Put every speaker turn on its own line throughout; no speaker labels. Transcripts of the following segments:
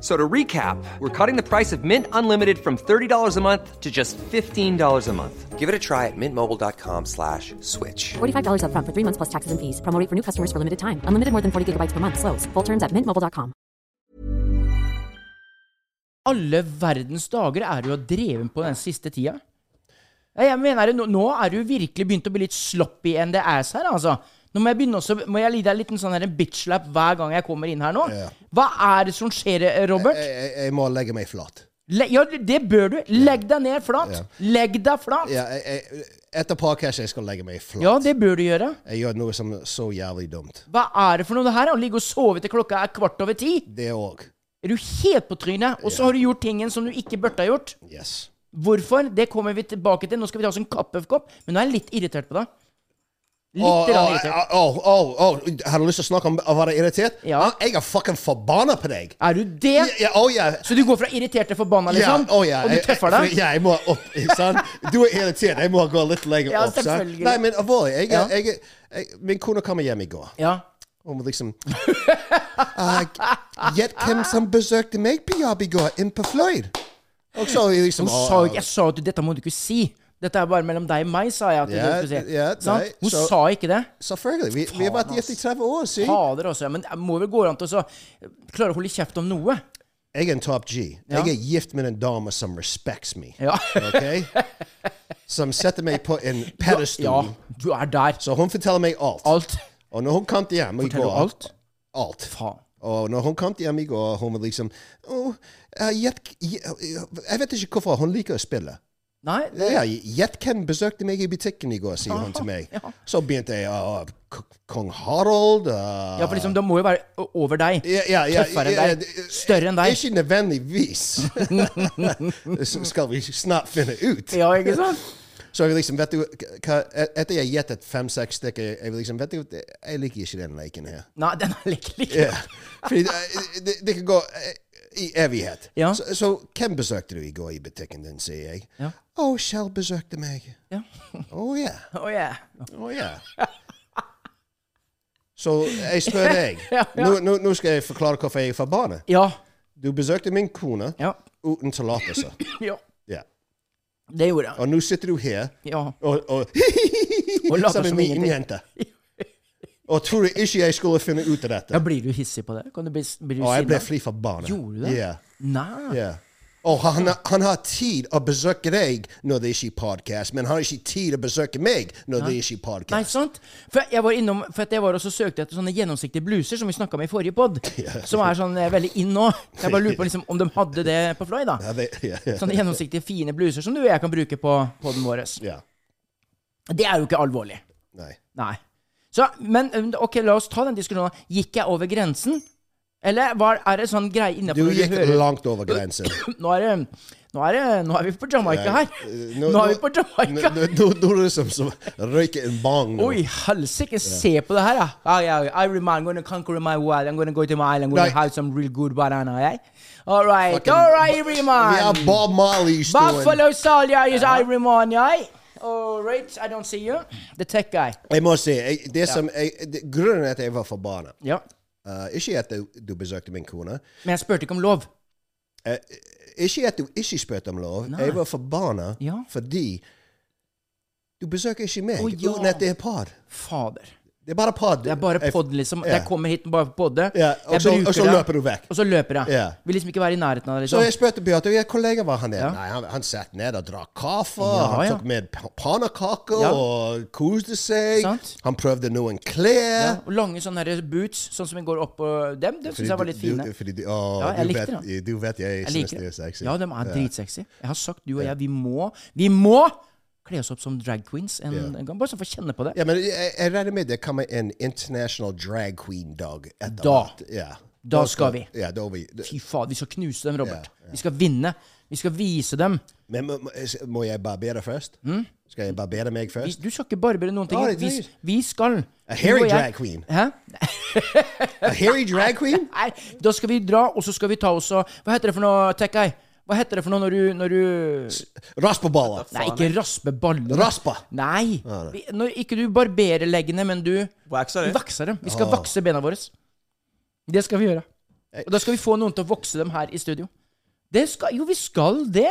So to recap, we're cutting the price of Mint Unlimited from $30 a month to just $15 a month. Give it a try at mintmobile.com slash switch.
$45 up front for three months plus taxes and fees. Promo rate for new customers for limited time. Unlimited more than 40 gigabytes per month. Slows. Full terms at mintmobile.com.
alle verdens dager er du har drevet på den siste tida. Nei, Jeg mener, nå, nå er du virkelig begynt å bli litt sloppy in the ass her, altså. Nå må jeg begynne også, må jeg lide en liten sånn her bitch-slap hver gang jeg kommer inn her nå.
Ja.
Hva er det som skjer, eh, Robert?
Jeg, jeg, jeg må legge meg flat.
Le ja, det bør du. Legg deg ned flat.
Ja.
Legg deg flat.
Ja, jeg, jeg, etter parkasje jeg skal legge meg flat.
Ja, det bør du gjøre.
Jeg gjør noe som er så jævlig dumt.
Hva er det for noe det her? Å ligge og sove til klokka er kvart over ti?
Det òg.
Er du helt på trynet? Og så har du gjort tingen som du ikke burde ha gjort?
Yes.
Hvorfor? Det kommer vi tilbake til. Nå skal vi ta oss en kaffekopp. Men nå er jeg litt irritert på deg. Litt
Åh,
grann
åh,
irritert.
åh, åh, åh, Har du lyst til å snakke om å være irritert? Ah,
Ja.
Jeg er fucking forbanna på deg.
Er du det?
Ja, ja, åh, ja.
Så du går fra irritert til forbanna, liksom?
Ja, åh, ja.
Og du
Jeg-
tøffer
jeg-
deg?
Ja, jeg må opp. ikke Sant? Du er irritert. Jeg må gå litt lenger
Ja,
opp. sant?
selvfølgelig.
Nei, men alvorlig. Jeg,
Ja.
jeg, jeg, min kone kom hjem i går.
Ja.
Hun liksom «Ah, Gjett hvem som besøkte meg på jobb i går, inn på Fløyd? Og så liksom
Hun
åh,
sa jo ikke Jeg sa at du, dette må du ikke si. Dette er bare mellom deg og meg, sa jeg. at du
Ja,
skulle si.
ja,
Sant?
nei,
Hun
så-
sa ikke det.
Selvfølgelig. Vi, vi har vært gift i 30 år, si.
Fader også. Men det må vel gå an til å så klare å holde kjeft om noe?
Jeg er en top G.
Ja.
Jeg er gift med en dame som respects me.
Ja.
Ok? Som setter meg på en pedestal.
Ja, du er der.
Så hun forteller meg alt.
Alt.
Og når hun kom til hjem i
Forteller
går
du alt?
Alt.
Faen.
Og når hun kom til hjem i går, hun var liksom «Åh, eh, gjett- gjett- Jeg vet ikke hvorfor hun liker å spille.
Nei, det,
Ja, Gjett hvem besøkte meg i butikken i går, sier hun til meg. Så begynte jeg å Kong Harald eh,
Ja, for liksom, det må jo være o- over deg.
ja, ja, ja,
Tøffere
ja,
enn deg.
det-
Større enn deg.
Ikke nødvendigvis. det s- skal vi snart finne ut.
Ja, ikke sant?
Så jeg liksom, vet du, k- hva- et- etter jeg gjettet fem-seks stykker, jeg liksom, vet du, jeg liker ikke den leken her.
Nei, den er litt lik.
Ja. Fordi det, det, det kan gå eh, i evighet.
Ja.
Så, så hvem besøkte du i går i butikken din, sier jeg. Å,
Ja.
Kjell besøkte meg.
Ja.
Å ja.
Å, ja.
Å ja. Så jeg spør deg. Nå, nå, nå skal jeg forklare hvorfor jeg er forbanna.
Ja.
Du besøkte min kone
Ja.
uten tillatelse.
ja.
Ja.
Det gjorde jeg.
Og nå sitter du her
Ja.
og, og,
Og later
som en
som
liten
ingenting.
jente. Og tror du ikke jeg skulle finne ut av dette?
Ja, blir du hissig på det? Kan du bli, blir du
Og jeg ble
sinna?
fly forbanna.
Gjorde du det?
Ja.
Nei.
Ja. Og han, han har tid å besøke deg når det ikke er podcast, men han har ikke tid å besøke meg når det ikke er
Nei,
podcast.
sant? For jeg var innom, for at jeg var også søkte etter sånne gjennomsiktige bluser som vi snakka om i forrige pod, som er sånn eh, veldig in nå. Jeg bare lurer på liksom, om de hadde det på Fly, da.
Ja, det, ja, ja.
Sånne gjennomsiktige, fine bluser som du og jeg kan bruke på poden vår.
ja.
Det er jo ikke alvorlig.
Nei.
Nei. Så, men um, ok, la oss ta den diskusjonen. Gikk jeg over grensen? Eller var, er det sånn greie
Du
innafor
gikk langt over grensen.
Nå er, det, nå, er det, nå er vi på Jamaica
Nei. eh,
her. Nå, er vi på Jamaica.
Nå, nå, nå er det som, som røyker en bang. nå.
Oi, helsike, se på det her, da. Ah, yeah, Iron Man, I'm gonna conquer my world. I'm gonna go to my island. I'm gonna
Nei.
have some real good banana, yeah? All right,
Fucking-
all right, Iron
Vi har
Man.
Bob Marley-historien.
Buffalo Soldier is Iron Man, yeah? All right, I don't see you. The tech guy.
Jeg må si, jeg, det som jeg, det, grunnen til at jeg var forbanna
Ja.
Eh, ikke at du, du besøkte min kone.
Men jeg spurte ikke om lov.
Eh, ikke at du ikke spurte om lov.
Nei.
Jeg var forbanna
Ja.
fordi du besøker ikke meg
Å, ja.
uten at det er par.
Fader.
Det er bare pod.
Det er bare
Jeg-
pod, liksom.
Ja.
Jeg kommer hit bare for podde.
Ja, og
Jeg
så- og
bruker
så
det.
løper du vekk.
Og så løper jeg.
Ja.
Vil liksom ikke være i nærheten av det.
Så
Liksom.
jeg spurte Bjarte ja, hvor lenge var han der.
Ja.
Nei, han, han satt ned og drakk kaffe.
Ja,
han
ja.
tok med pa- pannekaker
Ja.
og koste seg.
Sant.
Han prøvde noen
Ja,
klær.
og lange sånne her boots, sånn som jeg går oppå dem. Det syns jeg var litt
du,
fine.
du, fordi ah, du, å,
Ja, jeg
du,
likte
vet, du vet jeg,
Jeg
synes
liker
det er sexy.
Ja, de er dritsexy. Jeg har sagt, du og jeg, vi må Vi må kle oss opp som drag queens en,
Ja.
en gang. Bare så for å kjenne på det.
Ja, men jeg, jeg regner med det kommer en international drag queen-dag. etter
Da.
hvert. Ja.
Da skal vi.
Ja, da vi.
Fy faen, vi skal knuse dem, Robert.
Ja,
Vi skal vinne. Vi skal vise dem.
Men må, må- må jeg barbere først? Skal jeg barbere meg
Mm? Vi,
først?
du skal ikke barbere noen ting.
Ja, det er
Vi,
det.
vi skal du
A hairy
og jeg-
drag queen.
Hæ?
A hairy drag queen?
Nei, da skal vi dra, og så skal vi ta oss og Hva heter det for noe, Tekkai? Hva heter det for noe når du, når du
Raspeballer.
Nei, ikke raspe baller.
Raspa.
Nei. Vi, når, ikke du barberer leggene, men du
Waxer
du
det.
vakser dem. Vi skal vakse bena våre. Det skal vi gjøre. Og da skal vi få noen til å vokse dem her i studio. Det skal, jo, vi skal det!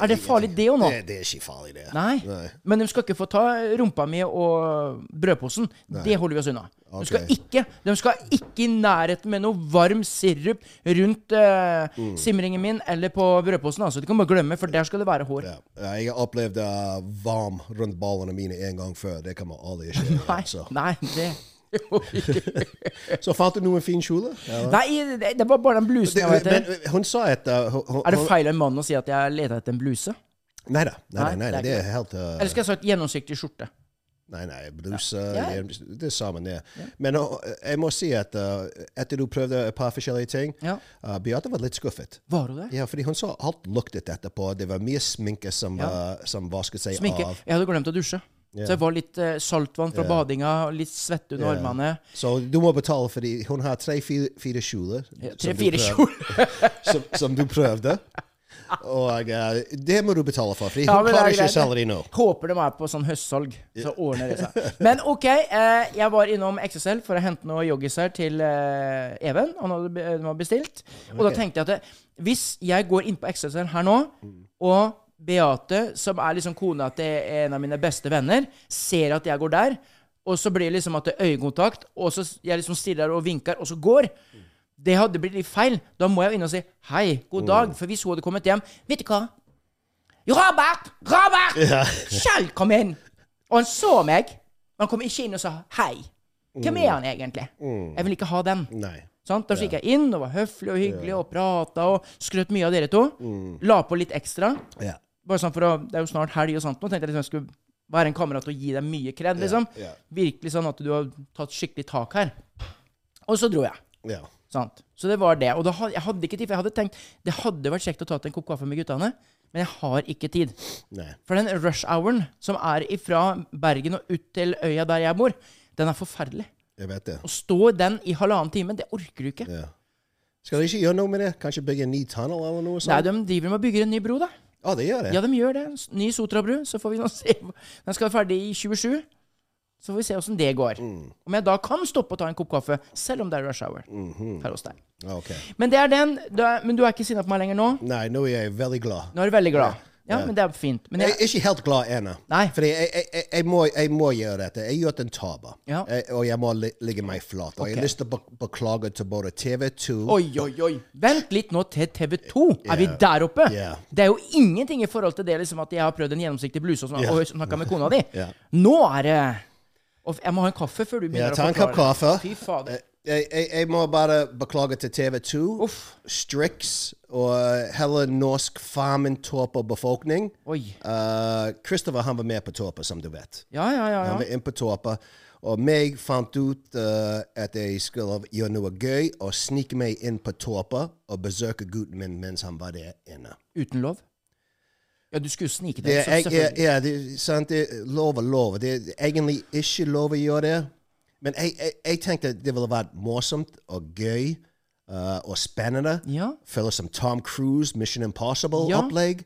er det farlig, det òg nå?
Det, det er ikke farlig, det.
Nei. Men de skal ikke få ta rumpa mi og brødposen. Det holder vi oss unna. De skal,
Ok.
ikke, de skal ikke i nærheten med noe varm sirup rundt eh, simringen min eller på brødposen. Altså. Du kan bare glemme, for der skal det være hår.
Ja. Ja, Jeg har opplevd uh, varm rundt ballene mine en gang før. Det kommer aldri skje. igjen,
Nei,
så.
nei, det
så fant du noen fin kjole? eller?
Nei, det, det var bare den blusen jeg var
Det-
etter.
Men hun sa at uh, hun, hun,
Er det feil av en mann å si at jeg leter etter en bluse?
Nei da. Nei, nei,
Nei,
nei,
det er
det
ikke
er helt uh,
Eller skal jeg ha sagt gjennomsiktig skjorte?
Nei, nei, bluse
Ja.
hjem- Det er samme det. Men uh, jeg må si at uh, etter du prøvde et par forskjellige ting,
Ja.
uh, Beate var litt skuffet.
Var hun det?
Ja, fordi hun sa alt luktet etterpå. Det var mye sminke som, uh, som vasket seg
Sminke.
av.
Jeg hadde glemt å dusje. Så jeg var litt eh, saltvann fra badinga, og litt svett under
Ja.
armene.
Så du må betale fordi hun har tre-fire kjoler. som du
Tre-fire
prøv-
kjoler.
som, som du prøvde. Og eh, det må du betale for, for hun
Ja, men det er
klarer ikke
greit.
selge de nå.
Håper de er på sånn høstsalg, så ordner det seg. Men OK, eh, jeg var innom XSL for å hente noe joggis her til eh, Even. Han hadde be- eh, de hadde bestilt. Og da tenkte jeg at det, hvis jeg går inn på XSL her nå, og Beate, som er liksom kona til en av mine beste venner, ser at jeg går der, og så blir det liksom at det er øyekontakt, og så s- jeg liksom stirrer og vinker, og så går. Det hadde blitt litt feil. Da må jeg jo inn og si 'hei,
Mm.
god dag', for hvis hun hadde kommet hjem 'Vet du hva'? Robert! Robert! Kjell kom inn! Og han så meg. Men han kom ikke inn og sa hei. Hvem er han egentlig? Jeg vil ikke ha den.
Mm. Nei.
Sant? Da gikk jeg inn og var høflig og hyggelig og prata og skrøt mye av dere to.
Mm.
La på litt ekstra.
Ja.
Bare sånn for å, Det er jo snart helg og sånt. Nå tenkte jeg liksom jeg skulle være en kamerat og gi deg mye kred. Liksom.
ja.
Virkelig sånn at du har tatt skikkelig tak her. Og så dro jeg.
ja.
Sant? Så det var det. Og da, had- jeg hadde ikke tid, for jeg hadde tenkt det hadde vært kjekt å ta til en kopp kaffe med guttene, men jeg har ikke tid.
Nei.
For den rush-houren som er fra Bergen og ut til øya der jeg bor, den er forferdelig.
Jeg vet det.
Å stå i den i halvannen time, det orker du ikke.
Ja. Skal de ikke gjøre noe med det? Kanskje bygge en ny tunnel eller noe
Nei,
sånt?
de driver med å bygge en ny bro, da.
Å, det gjør det?
Ja, de gjør det. S- Ny Sotrabru. Så får vi nå se. Den skal være ferdig i 27. Så får vi se åssen det går. Om jeg da kan stoppe og ta en kopp kaffe, selv om det er rush hour her hos deg.
Ah, Ok.
Men det er den. Du er, men du er ikke sinna på meg lenger nå?
Nei, nå er jeg veldig glad.
Nå er du veldig glad. Ja, men det er fint. Men
Jeg
jeg,
er ikke helt glad ennå.
Nei.
Fordi jeg, jeg, jeg, jeg, må, jeg må gjøre dette. Jeg har gjort en tabbe.
Ja.
Jeg- Og jeg må li- ligge meg flat. Og jeg
Ok.
har lyst til å be- beklage til både TV2
Oi, oi, oi. Vent litt nå til TV2. Er vi der oppe?
Yeah.
Det er jo ingenting i forhold til det liksom at jeg har prøvd en gjennomsiktig bluse og, sånn,
Yeah.
og snakka med kona di.
Yeah.
Nå er det og Jeg må ha en kaffe før du
Ja,
begynner
ta
å
en kopp
forklare.
kaffe.
Fy fader.
Eh, Jeg, jeg, jeg må bare beklage til TV2,
Uff.
Strix og eh, hele norsk Farmen-Torpa-befolkning.
Oi.
Eh, Christopher han var med på Torpa, som du vet.
Ja, ja, ja.
Han
ja.
var inne på Torpa. Og meg fant ut eh, at jeg skulle gjøre noe gøy og snike meg inn på Torpa og besøke gutten min mens han var der inne.
Uten lov? Ja, du skulle jo snike
Det
deg.
er,
så
jeg, jeg,
selvfølgelig.
ja, det er sant. Det er lov og lov. Det er egentlig ikke lov å gjøre det. Men jeg, jeg, jeg tenkte det ville vært morsomt og gøy eh, og spennende.
Ja.
Føles som Tom Cruise, Mission
Ja.
Impossible-opplegg.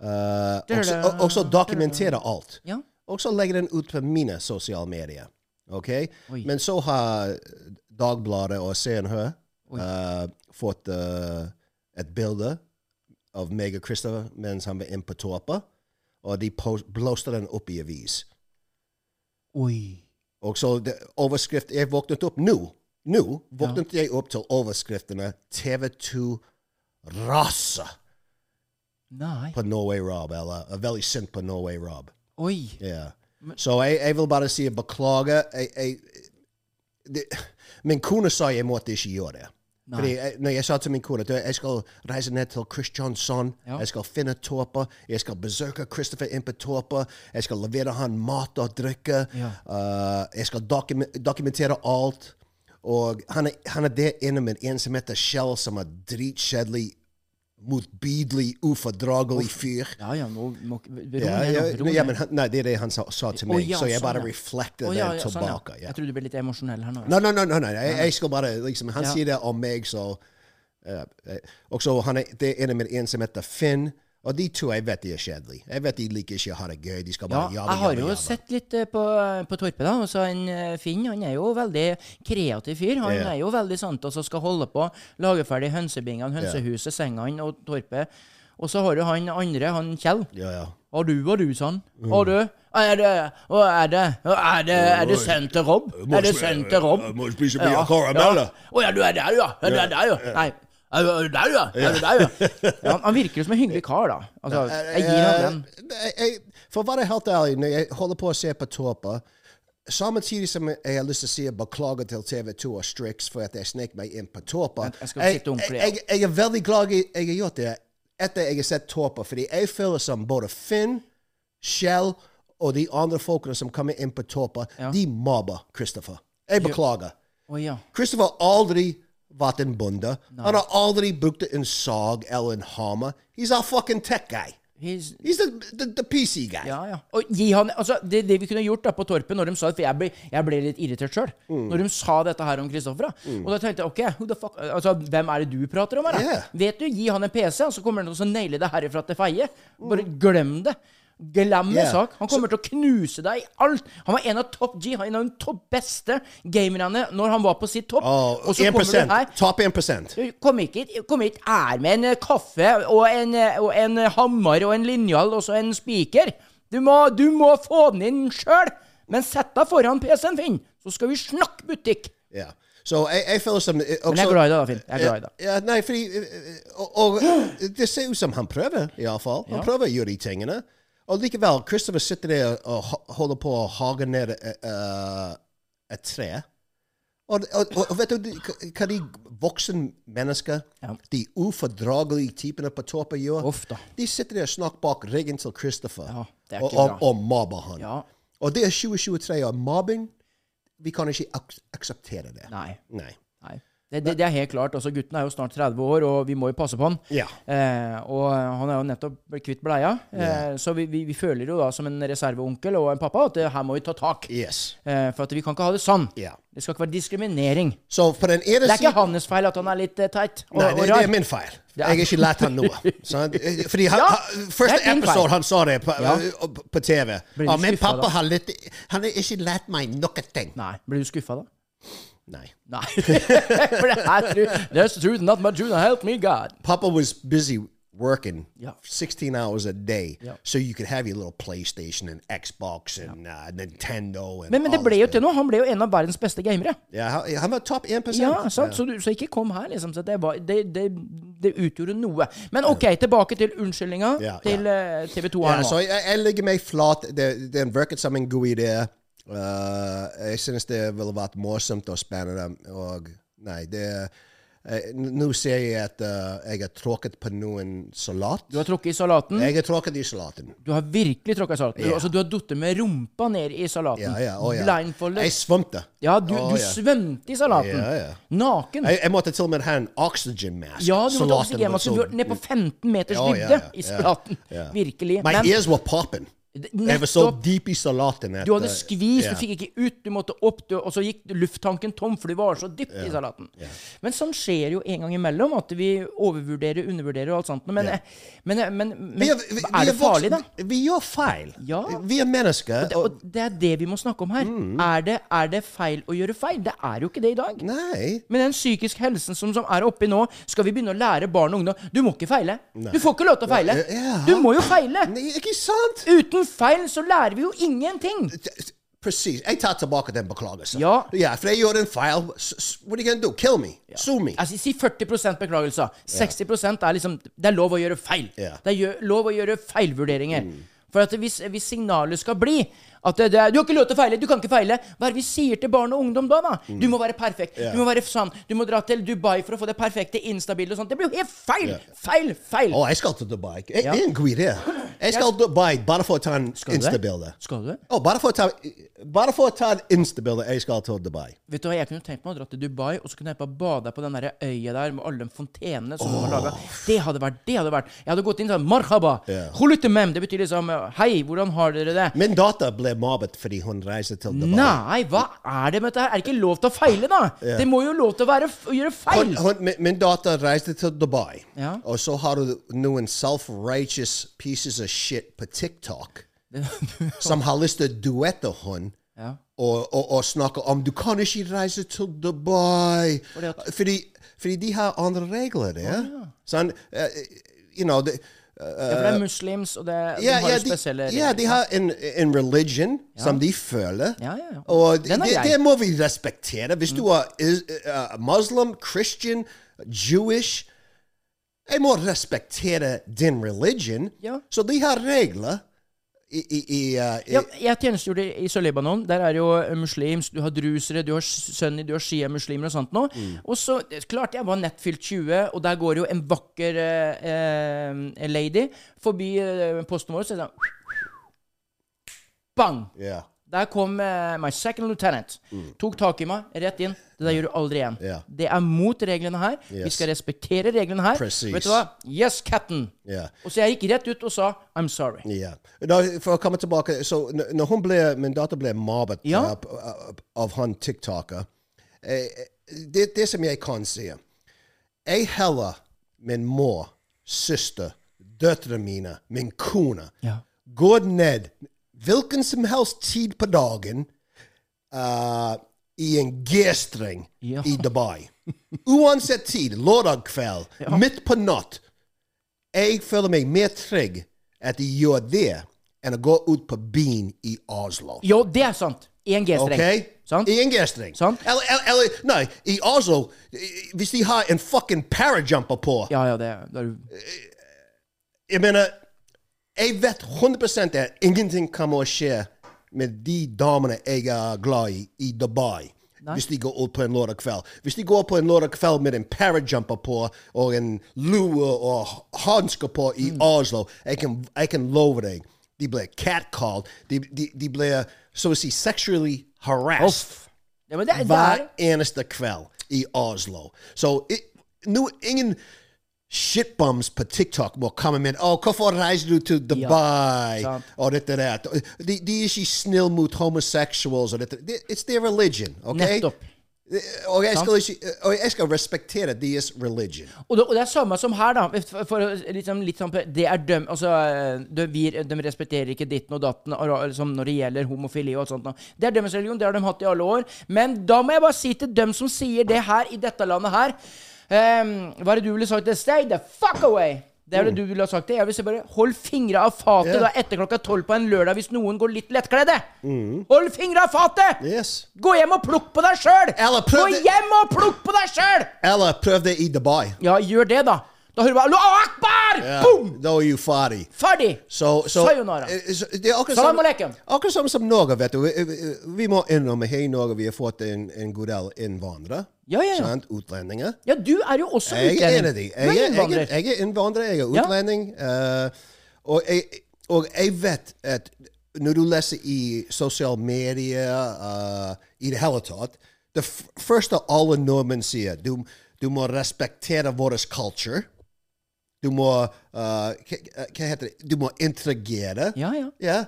Det er
og så-
det.
og- og så dokumentere alt.
Ja.
Og så legge den ut på mine sosiale medier. Ok?
Oi.
Men så har Dagbladet og Se og Hør eh, fått eh, et bilde av meg og Christopher mens han var inne på Torpa, og de post- blåste den opp i avis.
Oi.
Og så det, overskrift Jeg våknet opp nå. Nå våknet jeg opp til overskriftene TV 2 raser
Nei.
på Norway Rob, eller er veldig sint på Norway Rob.
Oi.
Ja. Så jeg, jeg vil bare si beklager. Jeg, jeg, det, min e kone sa jeg måtte ikke gjøre det.
Nei.
Fordi jeg, når jeg sa til e min kone at jeg skal reise ned til Kristiansand,
Ja.
jeg skal finne Torpa, jeg skal besøke Christopher inn på Torpa, jeg skal levere han mat og drikke,
Ja.
eh, jeg skal dokumen- dokumentere alt. Og han er, han er der inne med en som heter Shell, som er dritkjedelig, motbydelig, ufordragelig fyr.
Ja, ja, nå må ikke ro
Ja,
ned
ja,
nå, ro
ja,
ned.
men han, nei, det er det han sa, sa til
Å,
meg,
ja,
så jeg
sånn,
bare
ja.
reflekter
Å,
det
ja, ja, sånn, ja.
tilbake. ja.
Jeg trodde du ble litt emosjonell her nå. ja.
Nei, nei, nei, nei, nei. Jeg, jeg skal bare liksom, Han
Ja.
sier det om meg, så eh, eh, Og så han er, det er en med en som heter Finn. Og de to jeg vet de er kjedelige. Jeg vet de liker ikke å ha det gøy. De
Ja,
skal bare jabbe,
jeg har
jabbe,
jo
jabbe.
sett litt eh, på, på Torpet, da. Også en eh, Finn han er jo veldig kreativ fyr. Han
Ja.
er jo veldig sånn og så skal holde på, lage ferdig hønsebingene, hønsehuset, sengene og Torpet. Og så har du han andre, han Kjell.
Ja, ja.
Og du og du, sånn.
Mm.
Og du. Er det og er det, og er det, er det sønnen til Rob? Er det sønnen til Rob?
Jeg må spise mye karameller.
Ja. Å ja, du er der, ja. Ja, Du er der, ja. Nei. Er du er du der, ja? Er du der, ja? ja han, han virker jo som en hyggelig kar, da. Altså, jeg gir ham den.
Eh, Jeg- jeg- For å være helt ærlig, når jeg holder på å se på Torpa Samtidig som jeg har lyst til å si beklager til TV 2 og Strix for at jeg snek meg inn på Torpa
Jeg- jeg skal sitte ordentlig, ja.
jeg, jeg er veldig glad jeg jeg har gjort det etter jeg har sett Torpa, fordi jeg føler som både Finn, Shell og de andre folkene som kommer inn på Torpa,
Ja.
de mobber Christopher. Jeg beklager.
Å ja.
Christopher har aldri vært en bonde. Han har aldri brukt en sag eller en hammer. He's our fucking tech guy.
He's,
He's the, the, the PC guy.
Ja, ja. Og gi han, altså, det, det vi kunne gjort da på Torpet, når de sa det, for jeg ble, jeg ble litt irritert sjøl,
Mm.
når de sa dette her om Kristoffer, da. Og da tenkte jeg OK, who the fuck Altså, hvem er det du prater om her, da?
Yeah.
Vet du, gi han en PC, og så kommer han til å naile det herifra til feie. Bare glem det. Glem en
Yeah.
sak. Han kommer til å knuse deg i alt. Han var en av topp G, han var en av de topp beste gamerne når han var på sitt topp.
Oh,
og så kommer du
1%.
her
Top 1%.
du kom ikke hit, kom hit her med en eh, kaffe og en, eh, og en eh, hammer og en linjal og så en spiker. Du, må- du må få den inn sjøl! Men sett deg foran PC-en, Finn, så skal vi snakke butikk.
Ja. Så jeg, jeg føler som
Men jeg er glad i deg, da, Finn. Jeg er glad i deg.
Ja, nei, fordi eh, og, og det ser ut som han prøver, iallfall. Han prøver å gjøre de tingene. Og likevel, Christopher sitter der og ho- holder på å hage ned eh, eh, et tre. Og, og, og vet du de- hva de voksne mennesker,
Ja.
de ufordragelige typene på toppen gjør?
Uff da.
De sitter der og snakker bak ryggen til Christopher
Ja, det er
og,
ikke
og,
bra.
og mobber han.
Ja.
Og det er 2023, og mobbing Vi kan ikke ak akseptere det.
Nei.
Nei.
nei. Det, det, det er helt klart. Altså, gutten er jo snart 30 år, og vi må jo passe på han.
Ja.
Eh, og han er jo nettopp blitt kvitt bleia, eh,
Ja.
så vi, vi, vi føler jo da som en reserveonkel og en pappa at eh, her må vi ta tak.
Yes.
Eh, for at vi kan ikke ha det sånn.
Ja.
Det skal ikke være diskriminering.
Så på den ene
Det er
siden
ikke hans feil at han er litt eh, teit og,
Nei, det,
og
det
rar.
er min feil.
Ja.
Jeg har ikke lært han noe. sant? Fordi han,
Ja,
han, første
det er din feil.
episode han sa det på,
Ja.
på, på TV.
Blir du
Ja, min
skuffet da?
pappa har, litt, han har ikke lært meg noe ting.
Nei, blir du skuffa da?
Nei.
Nei. For det er true. There's the truth, not my truth, help me God.
Pappa was busy working
Ja.
16 hours a day,
Ja.
so you could have your little PlayStation and Xbox and uh, Nintendo. And
Men, men det
all
ble
this
jo
good.
til noe. Han ble jo en av verdens beste gamere.
Ja, han, han var topp 1
Ja, sant? Så, du, så ikke kom her, liksom. Så det, var, det, det, det utgjorde noe. Men OK, tilbake til unnskyldninga
Ja,
til eh, TV 2 her
Ja, så
nå.
jeg, jeg legger eh, meg flat. Det, den virket som en god idé. Uh, jeg synes det ville vært morsomt og spennende. Og nei, det eh, n- Nå ser jeg at uh, jeg har tråkket på noen salat.
Du har trukket i salaten.
Jeg har tråkket i salaten.
Du har virkelig tråkka i salaten. Du,
Ja.
altså, du har datt med rumpa ned i salaten.
Ja, ja, å, ja.
Blindfoldet.
Jeg svømte.
Ja, du,
Å,
du
ja.
svømte i salaten.
Ja, ja.
Naken.
Jeg, jeg måtte til og med ha en oxygen mask.
Ja, du måtte
Salaten
også
var
hjemme, så
så-
du var ned på 15 meters
Ja, ja,
dybde
ja,
i
ja,
salaten.
ja.
Virkelig.
My
Men
ears were popping.
Det-
Jeg var så
Nettopp.
deep i salaten. at,
Du hadde
eh,
skvist,
ja.
du fikk ikke ut, du måtte opp, du, og så gikk lufttanken tom, for du var så dypt i salaten. Men sånn skjer jo en gang imellom, at vi overvurderer, undervurderer og alt sånt. Men, men, men, men,
Vi er- vi- vi
er det farlig, da?
voksne. Vi gjør feil.
Ja.
Vi er mennesker.
Og
Og,
det er det vi må snakke om her.
Mm.
Er, det, er det feil å gjøre feil? Det er jo ikke det i dag.
nei.
Men den psykiske helsen som, som er oppi nå, skal vi begynne å lære barn og ungdom Du må ikke feile. Du får ikke lov til å feile.
Ja.
Du må jo feile.
nei. Ikke sant?
Uten feil så lærer vi jo ingenting.
Precis. Jeg tar tilbake den beklagelsen.
Ja.
ja for jeg gjorde en feil. S- s- What are you gonna do? Kill me? Sue me?
Altså, si 40 beklagelser. 60 er liksom Det er lov å gjøre feil.
Ja. Mm.
Det er gjø- lov å gjøre feilvurderinger. For at hvis, hvis signalet skal bli at det, det er, 'Du har ikke lov til å feile! Du kan ikke feile!' Hva er det vi sier til barn og ungdom da? da?
Mm.
Du må være perfekt. Du må være sann. Du må dra til Dubai for å få det perfekte instabilde og sånt. Det blir jo helt feil! Feil! Feil!
Å, jeg skal til Dubai. Jeg,
Ja.
jeg inngår det. Jeg skal til Dubai bare for å ta en
du det?
instabilde.
Skal du det?
Å, bare for å ta, bare for å ta en instabilde, jeg skal til Dubai.
Vet du hva, Jeg kunne tenkt meg å dra til Dubai og så kunne jeg bare bada på den der øya der med alle de fontenene som de har laga. Det hadde vært det hadde vært. Jeg hadde gått inn sånn Marhaba!
Ja.
Khulutemem! Det betyr liksom Hei, hvordan har dere det?
Min datter ble mobbet fordi hun reiste til Dubai.
Nei, hva er det med dette her? Er det ikke lov til å feile, da? Det må jo lov til å, være, å gjøre feil!
Hun, hun, min- min datter reiste til Dubai,
Ja.
og så har du noen self-righteous pieces of shit på TikTok som har lyst til å duette hun
Ja.
og, og, og snakke om du kan ikke reise til Dubai.
at-
Fordi, fordi de har andre regler der. Sånn, eh, you know, det-
ja, for det er muslims, og det
Ja,
de har
ja,
jo spesielle
de, ja, de har en, en religion som de føler.
Ja, ja, ja.
Og det,
Den er grei.
det må vi respektere. Hvis du er is, uh, muslim, christian, jewish Jeg må respektere din religion.
Ja.
Så de har regler i, i, i, uh, i
Ja, jeg tjenestegjorde i Sør-Libanon. Der er det jo muslimsk, du har drusere, du har s- sunni, du har sjiamuslimer og sånt noe.
Mm.
Og så eh, klart jeg var nett fylt 20, og der går jo en vakker eh, eh, lady forbi eh, posten vår, og så er det sånn Bang!
Ja,
Der kom eh, my second lieutenant. Tok tak i meg, rett inn. Det der gjør du aldri igjen.
Mm. Ja.
Det er mot reglene her. Vi
Yes.
skal respektere reglene her.
Precis.
Vet du hva? Yes, captain.
ja.
Og så jeg gikk rett ut og sa I'm sorry.
Ja. Da, for å komme tilbake så n- Når hun ble, min datter ble mobbet
Ja.
eh, p- eh, av han tiktoker eh, det, det som jeg kan si Jeg heller min mor, søster, døtrene mine, min kone
Ja.
går ned hvilken som helst tid på dagen eh, i en G-streng
Ja.
i Dubai. Uansett tid, lørdag kveld, midt på natt. Jeg føler meg mer trygg at de gjør det, enn å gå ut på byen i Oslo.
Jo, det er sant. I en G-streng.
Ok?
Sant?
I en G-streng.
Sant.
Eller, eller, eller, nei, i Oslo, eh, hvis de har en fucking parajumper på
Ja, ja, det, det er
Jeg mener, jeg vet 100 at ingenting kommer å skje med de damene jeg er glad i i Dubai. Hvis de går ut på en lørdag kveld. Hvis de går på en lørdag kveld med en parajumper på og en lue og hansker på i Oslo, jeg kan, jeg kan love deg de blir catcalled. De, de, de blir så å si sexually harassed
Uff. Ja, men det, er- det
hver
er
eneste kveld i E Oslo. Så i- nå ingen shitbums på TikTok må komme med Å, 'Hvorfor reiser du til Dubai?'
sant.
og dette der. De, de er ikke snille mot homosexuals. og dette. Det- It's their religion. Oh, ok?
nettopp.
Og jeg, skal ikke, og jeg skal respektere deres religion.
Og det, og det er samme som her, da. For, for å liksom, litt sånn, på- det er døm, altså, eh, de, vi, de respekterer ikke ditten og datten og, og, liksom, når det gjelder homofili og alt sånt. da. Det er deres religion, det har de hatt i alle år. Men da må jeg bare si til dem som sier det her, i dette landet her ehm, Hva er det du ville sagt? Stay the fuck away! Det er det du ville ha sagt. det. Jeg vil si bare Hold fingra av fatet
Mm. Ja.
da etter klokka tolv på en lørdag hvis noen går litt lettkledde. Hold fingra av fatet!
Mm. Yes.
Gå hjem og plukk på deg sjøl!
Eller prøv
Gå
det-
hjem og plukk på deg sjøl!
Eller prøv det i Dubai.
Ja, gjør det, da. Da hører du bare Allahu akbar!
Ja,
Boom!
Da er du ferdig.
Ferdig!
Så, så,
Sayonara.
eh, så- det er akkurat
Salam
som-
alaikum.
Akkurat som, som Norge, vet du. Vi, vi- vi må innrømme her i Norge vi har fått en, en god del innvandrere.
Ja, ja, ja.
Sant? Utlendinger.
Ja, du er jo også
Jeg er en
utlending.
av de.
Du
Jeg,
er
er- jeg,
innvandrer.
er- jeg er innvandrer, jeg er
Ja.
utlending. eh, og, jeg, og jeg vet at når du leser i sosiale medier, eh, i det hele tatt Det f første alle nordmenn sier, du, du må respektere vår culture. Du må eh, hva, hva heter det? Du må interagere.
Ja, ja.
Ja.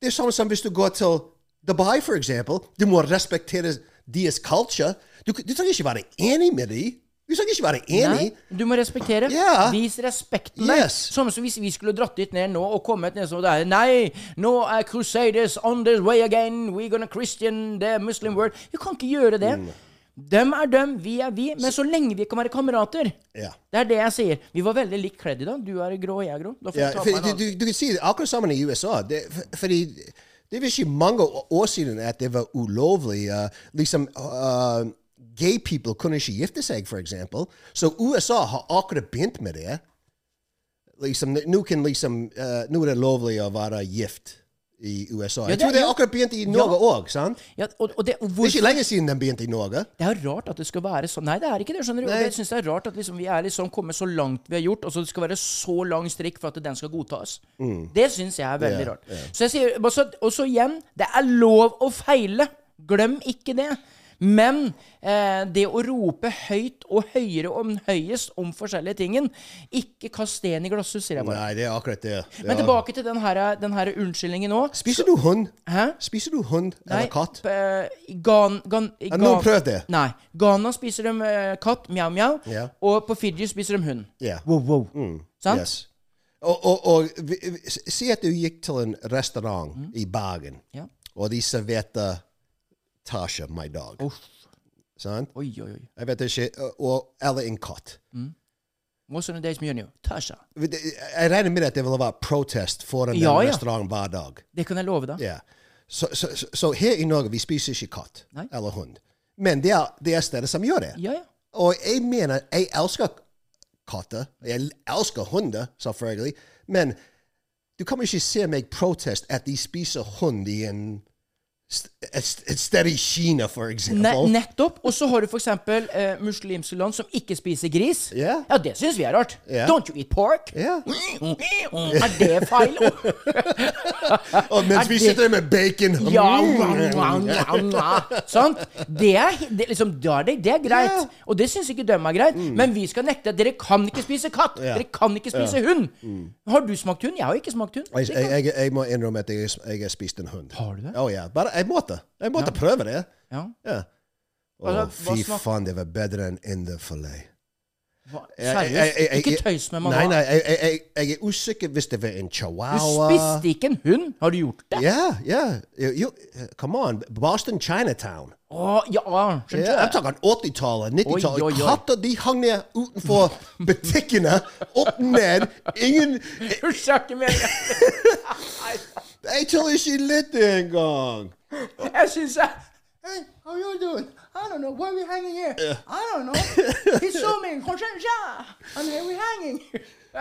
Det er samme som hvis du går til Dubai, for eksempel. Du må respektere deres culture. Du, du trenger ikke være enig med dem. Du trenger ikke være enig.
Nei, du må respektere.
Ja.
Vis respekten der.
Yes.
Samme som hvis vi skulle dratt dit ned nå og kommet ned som det er Nei, nå er Crusaders on their way again. We're gonna Christian the Muslim world. Vi kan ikke gjøre det.
Mm.
Dem er dem, vi er vi. Men så lenge vi kan være kamerater.
Ja.
Det er det jeg sier. Vi var veldig likt kledd i dag. Du er grå, og jeg er grå. Da får
Ja,
jeg ta
for,
på meg en
du, du, du kan si det akkurat sammen i USA. Det, for, fordi det var ikke mange å- år siden at det var ulovlig. eh, liksom, eh, gay people kunne ikke gifte seg, for eksempel. Så USA har akkurat begynt med det. Liksom, nå kan liksom, eh, nå er det lovlig å være gift i USA.
Ja,
Jeg tror
det-
det
ja.
er akkurat begynt i Norge òg, sant?
annen. Ja, og, og det, og
Det er
hvorfor-
ikke lenge siden den begynte i Norge.
Det er jo rart at det skal være sånn. Nei, det er ikke det. skjønner du? Og
Nei.
det synes jeg er rart at liksom, vi er liksom kommet så langt vi har gjort, og så det skal være så lang strikk for at den skal godtas. Det syns jeg er veldig
Mm. Ja,
rart. Så jeg sier, og så- Og så igjen, det er lov å feile. Glem ikke det. Men eh, det å rope høyt og høyere om høyest om forskjellige tingen Ikke kast stein i glasshus, sier jeg bare.
Nei, det er akkurat det.
Men
Ja.
tilbake til den her, den her unnskyldningen nå.
Spiser du hund?
Hæ?
Spiser du hund eller katt?
p- i Gan, gan, i
Ja,
Gan-
nå prøv det.
Nei. Ghana spiser de eh, katt, mjau, mjau.
Ja.
Og på Fiji spiser de hund.
Ja.
Wow, wow. Sant?
Yes. Og, og, og vi- vi- si at du gikk til en restaurant i Bergen,
Mm. Ja.
og de serverte Tasha My Dog.
Uff.
Sant?
Oi, oi, oi.
Jeg vet ikke og- og, Eller en katt.
What's on the day's menu? Tasha.
Vi- det- Jeg regner med at det vil være protest foran den
Ja, ja.
restauranten hver dag.
Det kan jeg love deg.
Ja. Så, så, så, så her i Norge vi spiser ikke katt
Nei.
eller hund. Men det er, det er steder som gjør det.
Ja, ja.
Og jeg mener, jeg elsker katter. Jeg elsker hunder, selvfølgelig. Men du kan ikke se meg protest at de spiser hund i en st- et, st- et sted i Kina, for
Ne
eksempel.
nettopp. Og så har du for eksempel eh, muslimske land som ikke spiser gris.
Ja.
Ja, det syns vi er rart.
Ja.
Don't you eat pork?
Ja.
Er det feil?
Og mens
Er
vi
det-
sitter der med bacon
Ja,
Mm.
mwah, mwah, mwah, mwah. Sant? Det er, det, er liksom, da er det, det er greit. Og det syns ikke dem er greit. Men vi skal nekte at dere kan ikke spise katt.
Ja.
Dere kan ikke spise hund. Har du smakt hund? Jeg har ikke smakt hund.
Jeg, jeg, jeg, jeg må innrømme at jeg, jeg har spist en hund.
Har du det?
Å ja. Bare, jeg måtte. Jeg måtte prøve det.
Ja.
Ja. Å,
Altså, hva
fy
smak-
faen, det var bedre enn inderfilet.
Hva-
Jeg- jeg- jeg-
Seriøst?
jeg-
Ikke tøys med meg
Nei,
nå.
nei, jeg, jeg, jeg, jeg er usikker hvis det var en
Du
chihuahua.
spiste ikke en hund. Har du gjort det?
Yeah, yeah. You, you, come on, Boston Chinatown.
Å, ja. Skjønte
Yeah, I'm
du?
talking 80-tallet,
Oi, oi,
90-tallet.
oi.
Katter de hang ned utenfor butikkene, opp ned. Ingen
Unnskyld, jeg har ikke meningen.
Jeg tør ikke lytte engang.
Jeg syns jeg Hey, how you doing? I don't know. Why we hanging here? I don't know. He saw me in Consensia. And here we hanging.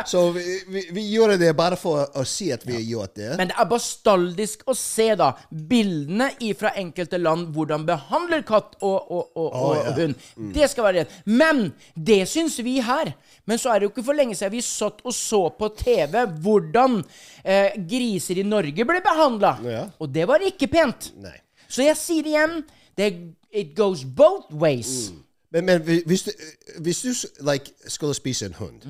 Så vi, vi, vi gjorde det bare for å si at vi har gjort det.
Men det er bastaldisk å se da bildene fra enkelte land, hvordan behandler katt og, og, og, og,
ja. Mm.
og hund. Det skal være det. Men det syns vi her. Men så er det jo ikke for lenge siden vi satt og så på TV hvordan eh, griser i Norge ble behandla.
Ja.
Og det var ikke pent.
Nei.
Så jeg sier det igjen. Det, it goes both ways.
Men, men hvi- hvis du, øh, hvis du s- like, skulle spise en hund,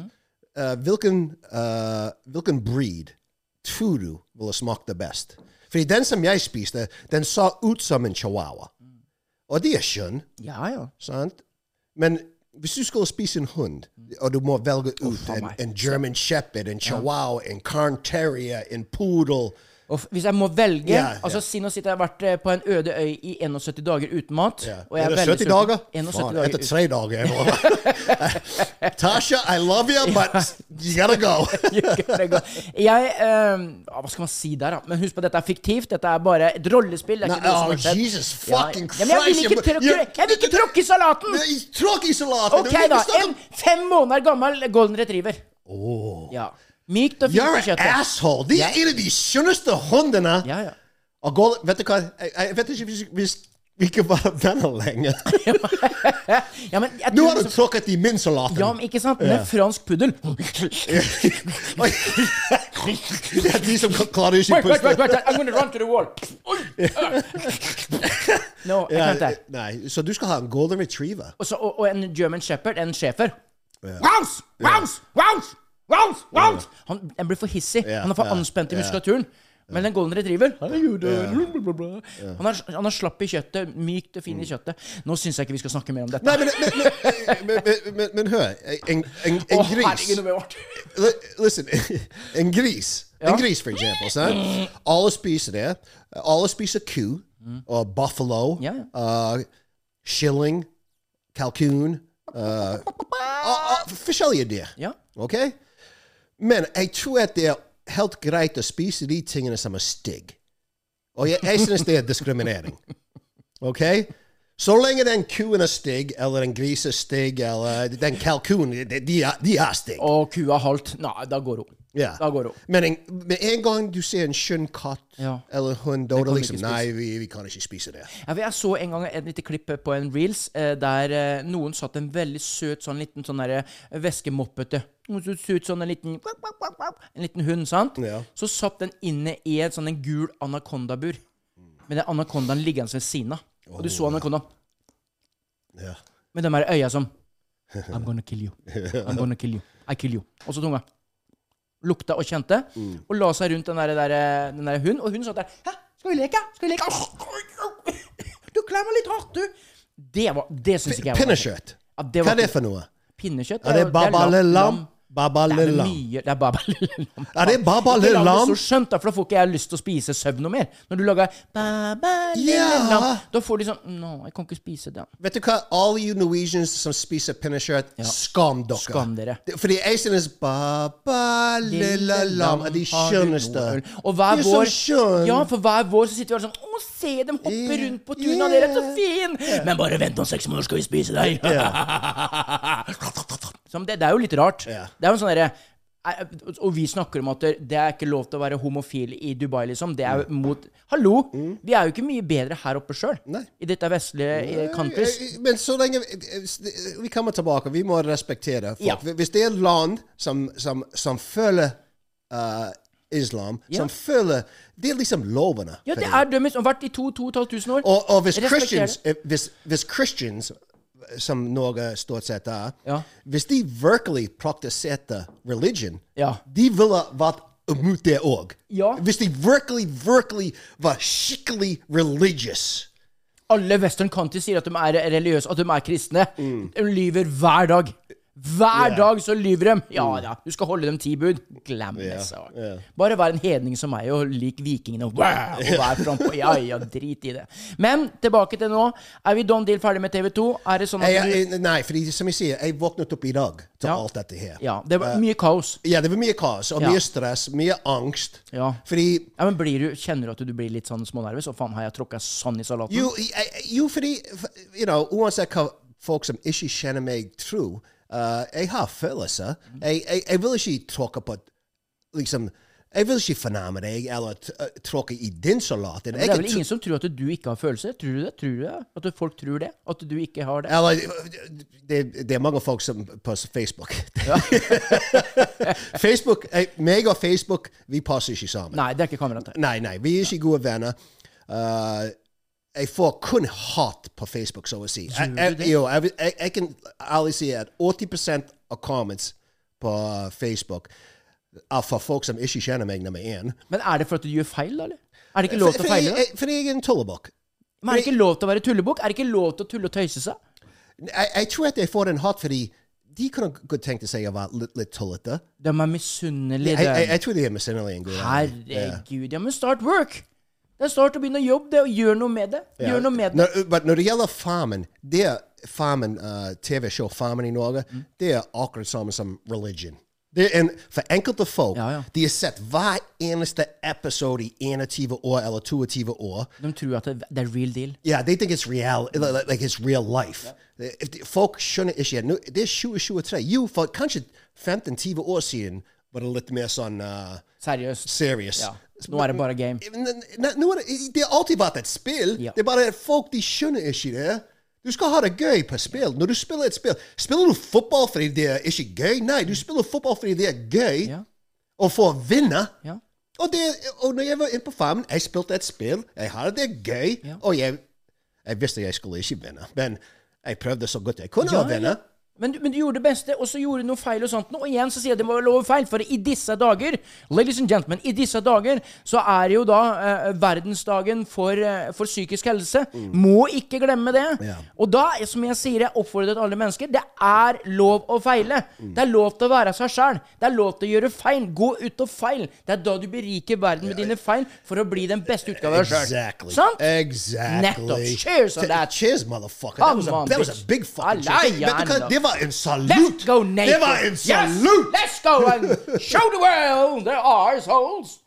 eh, hvilken, eh, hvilken breed tror du ville smake best? Fordi den som jeg spiste, den så ut som en chihuahua. Og det er skjønn,
Ja, ja.
sant? Men hvis du skulle spise en hund, og du må velge ut
faen
en,
meg.
en German Shepherd, en chihuahua, en Carn Terrier, en poodle
Og f- hvis jeg må velge
Ja,
Altså
ja.
Si nå sitter jeg har vært eh, på en øde øy i 71 dager uten mat.
Ja.
og jeg
er det
veldig
70
sulten.
dager?
71
Faen,
dager
etter
uten-
tre dager. jeg må- Tasha, I love you, but you gotta go.
jeg, eh, ah, Hva skal man si der, da? Men husk på, dette er fiktivt. Dette er bare et rollespill. Det er
Nei,
ikke noe som
oh,
har skjedd.
Jesus
Ja,
fucking
ja, men jeg vil
Christ,
ikke
jeg må- jeg-
tråkke- Jeg vil ikke tråkke i salaten!
Tråkk isolat!
OK, da. nou, En fem måneder gammel golden retriever. Ja. Mykt og fint
You're
på
an
kjøttet.
asshole! De er en av de skjønneste hundene!
Ja, ja.
Og Gold, vet du hva? Jeg, jeg vet ikke hvis, hvis vi ikke var venner lenger.
ja, men jeg
Nå
tror
har du
liksom-
tråkket i min salat.
ja, men ikke sant? Med fransk puddel.
Oi. det er de som klarer ikke
Wait, wait, wait, wait, I'm gonna run to the wall. Oi! Ah. No, jeg kan
Ja, eh,
ikke.
nei, så du skal ha en dus golden retriever.
Og, så, og, og en German Shepherd, en schæfer. Wows! Wows! Wows! Wows! Wows! Han, han blir for hissig.
Ja,
Han er for
ja,
anspent i
ja.
muskulaturen. Men en golden retriever herregud, blablabla. Han, er, han er slapp i kjøttet. Mykt og fin i kjøttet. Nå syns jeg ikke vi skal snakke mer om dette.
Mm. Nei, men, men, men, men, men, men, men hør. En, en, en
Å,
gris
herregud, nå ble jeg vart.
Li- Listen, en gris.
Ja.
En gris, for eksempel. Sant? Alle spiser det. Alle spiser ku og uh, buffalo.
Ja,
Uh, shilling, kalkun uh, a- a- Forskjellige dyr.
Ja.
Ok? Men jeg tror at det er helt greit å spise de tingene som er stygg. Og jeg, jeg synes det er diskriminering. Ok? Så lenge den kuen er stygg, eller den gris er stygg, eller den kalkunen De, de er, de er stygg.
Og kua halt. Nei, da går hun.
Ja.
Da går hun.
Men en, med en gang du ser en skjønn katt
Ja.
eller hund, da er det
vi
liksom
ikke
Nei, vi, vi kan ikke spise det.
Ja, for jeg så en gang et lite klipp på en reels eh, der eh, noen satt en veldig søt sånn liten sånn derre væskemoppete Noen så søt sånn en liten kvak, kvak, kvak, kvak, En liten hund, sant?
Ja.
Så satt den inne i en sånn en gul anakondabur. Med den anakondaen liggende ved siden av. Og du så anakondaen
Ja.
med de her øya som I'm gonna kill you. I'm gonna kill you. I kill you. Og så tunga. Lukta og kjente.
Mm.
Og la seg rundt den der, der, den der hunden. Og hun satt der. Hæ, skal vi leke? Skal vi leke? Du klemmer litt hardt, du. Det, var- det syns ikke jeg var
Pinnekjøtt.
Ja, det
Hva
var
er det
ikke-
for noe?
Pinnekjøtt?
Er det
jo-
babalelam?
lam. Det er
Babalelam.
mye Det er babalelam.
Er det
Ikke lam
babalelam?
det så skjønt, da, for da får ikke jeg lyst til å spise søvn noe mer. Når du lager babalelam,
Ja.
da får de sånn Nå, jeg kan ikke spise det.
Vet du hva? Alle you Norwegians som spiser pinnekjøtt, skam dere.
Skam dere.
Det- er Fordi jeg synes babalelam er de
har du
skjønneste.
noe øl? Og hver
De er så
vår,
skjønn.
ja, for hver vår så sitter vi alle sånn Å, se dem hoppe
Yeah.
rundt på tunet,
Yeah.
dere er så fin! Men bare vent om seks måneder, skal vi spise deg! Som det, det er jo litt rart.
Ja.
Det er jo en sånn derre eh, og vi snakker om at det er ikke lov til å være homofil i Dubai, liksom. Det er jo
Mm.
mot Hallo! Vi er jo ikke mye bedre her oppe sjøl.
Nei.
I dette vestlige eh, countries.
Men så lenge Vi kommer tilbake. Vi må respektere folk.
Ja.
Hvis det er land som, som, som følger eh, islam, som følger Det er liksom lovene.
Ja,
for
det
dem.
er dømmes. Og vært i to, to og et halvt tusen år.
Og, og hvis,
Respekter Er det.
Christians, eh, hvis, hvis Christians, eh, som Norge stort sett er,
Ja.
hvis de virkelig praktiserte religion,
Ja.
de ville vært imot det òg.
Ja.
Hvis de virkelig, virkelig var skikkelig religious.
Alle western country sier at de er religiøse, at de er kristne. De lyver hver dag. Hver dag så lyver de! Ja
Mm.
da, du skal holde dem ti bud. Glem det. sak. Bare vær en hedning som meg og lik vikingene. Og, wow, og vær frampå. Ja ja, drit i det. Men tilbake til nå. Er vi don deal ferdig med TV2? Er det sånn
Jeg,
at du
jeg, nei, fordi som jeg sier, jeg våknet opp i dag til
Ja.
alt dette her.
Ja, det var mye kaos.
Ja, det var mye kaos og
Ja.
mye stress, mye angst.
Ja.
Fordi
Ja, men blir du, Kjenner du at du blir litt sånn smånervøs? Å faen, har jeg tråkka sånn i salaten?
Jo, jeg- jeg- jo fordi f- you know, Uansett hva folk som ikke kjenner meg, tror eh, Jeg har følelser. Jeg, jeg, jeg vil ikke tråkke på liksom, Jeg vil ikke fornærme deg eller t- eh, tråkke i din salat. Jeg
det er
kan
vel
tro-
ingen som tror at du ikke har følelser? Tror du det? Tror du det? At folk tror det? At du ikke har det?
Eller, det, det er mange folk som på Facebook. Facebook, jeg, meg og Facebook, vi passer ikke sammen.
Nei, det er ikke kameraet.
Nei, nei, vi er ikke gode venner. Eh, jeg får kun hat på Facebook, så å si. Jeg, jeg, jo, jeg, jeg, jeg kan ærlig si at 80 av comments på eh, Facebook er fra folk som ikke kjenner meg, nummer én.
Men er det for at du gjør feil, da? eller? Er det ikke lov til å
Fordi
feile? da?
Eh, jeg, fordi jeg er en tullebukk.
Men er det ikke lov til å være tullebukk? Er det ikke lov til å tulle og tøyse seg?
Jeg, jeg tror at jeg får den hat fordi de kunne godt tenkt seg å være litt, litt tullete.
De er misunnelige.
Jeg, jeg,
dem.
jeg tror de er misunnelige en god gang.
Herregud. Ja, men start work! Det er start å begynne å jobbe, det, og gjør noe med det. Gjør noe med det.
Når, but når det gjelder Farmen det er Farmen, eh, TV-show Farmen i Norge,
Mm.
det er akkurat samme som religion. Det er en, for enkelte folk
Ja, ja.
de har sett hver eneste episode i 21 år eller 22 år.
De tror at det det er real deal.
Yeah, they think it's real, like, like it's real life. If the- folk skjønner ikke nå- Det er 2023. Jo, for kanskje 15-20 år siden var det litt mer sånn eh,
Seriøst.
serious.
Ja. Nå er det bare game.
N- n- nå er det- Det har alltid vært et spill.
Ja.
Det er bare at folk de skjønner ikke det. Du skal ha det gøy på spill. Når du spiller et spill Spiller du fotball fordi det er ikke gøy? Nei, du spiller fotball fordi det er gøy,
Ja.
og for å vinne.
Ja.
Og, det, og når jeg var inne på farmen, jeg spilte et spill, jeg hadde det gøy,
Ja.
og jeg, jeg visste jeg skulle ikke vinne, men jeg prøvde så godt jeg kunne
Ja,
å vinne.
Men, du- men du gjorde det beste, og så gjorde du noe feil og sånt. Og igjen så sier jeg det var lov og feil, for i disse dager, ladies and gentlemen, i disse dager så er jo da eh, verdensdagen for, eh, for psykisk helse. Må ikke glemme det.
Mm. Ja.
Og da, som jeg sier, jeg oppfordrer alle mennesker, det er lov å feile.
Mm.
Det er lov til å være seg sjæl. Det er lov til å gjøre feil. Gå ut og feil. Det er da du beriker verden med dine feil for å bli den beste utgaven av deg sjøl.
Exactly. Eh,
Sant?
Exactly.
Nettopp. Cheers
T-
on that.
Cheers, motherfucker.
Come
that, was a,
on,
that was
bitch.
a big fucking
I
cheers.
lie,
Vet du hva?
I know.
Det var en salut.
Let's go, Nathan.
Det var en
Yes,
salut.
let's go and show the world there are souls.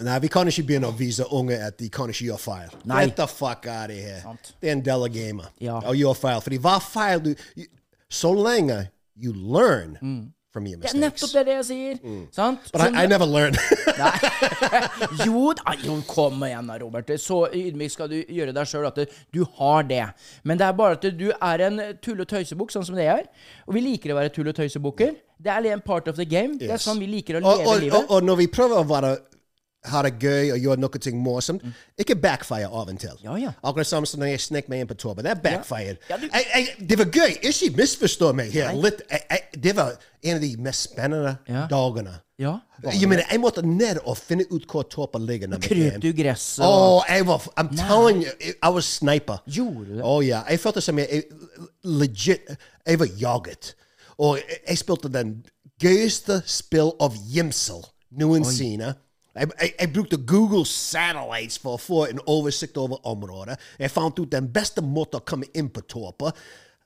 Nei, vi kan ikke begynne å vise unge at de kan ikke gjøre feil.
Nei.
Get the fuck out of here.
Sant.
Det er en del av gamet
Ja.
å gjøre feil. Fordi hva feil du you- Så lenge you learn from your
Det er nettopp
mistakes.
det jeg sier. Sant?
Mm. But I, I never learned.
Nei. jo, da, jo, kom igjen da, Robert. Så ydmyk skal du gjøre deg sjøl at du, du har det. Men det er bare at du er en tull- og tøysebukk, sånn som det er. Og vi liker å være tull- og tøysebukker. Det er en part of the game. Det er
Yes.
sånn vi liker å
og,
leve
og, og,
livet.
og når vi prøver å være, ha det gøy og gjøre noe ting morsomt, ikke backfire av og til.
Mm. Ja, ja.
Akkurat samme som når jeg snek meg inn på Torben. Det er backfire.
Ja, du-
jeg, jeg, det var gøy. Ikke misforstå meg her. Litt, jeg, jeg, det var en av de mest spennende
Ja.
dagene.
Ja.
Jeg mener, jeg måtte ned og finne ut hvor Torpen ligger. når vi
Krøp
er.
du i gresset? og-
Oh, I was, I'm telling you, I was sniper.
Gjorde du det?
Oh yeah, jeg følte som jeg, jeg legit, jeg var jaget. Og jeg, jeg spilte den gøyeste spill av gjemsel noensinne. Jeg, jeg, jeg brukte Google Satellites for å få en oversikt over området. Jeg fant ut den beste måten å komme inn på Torpet.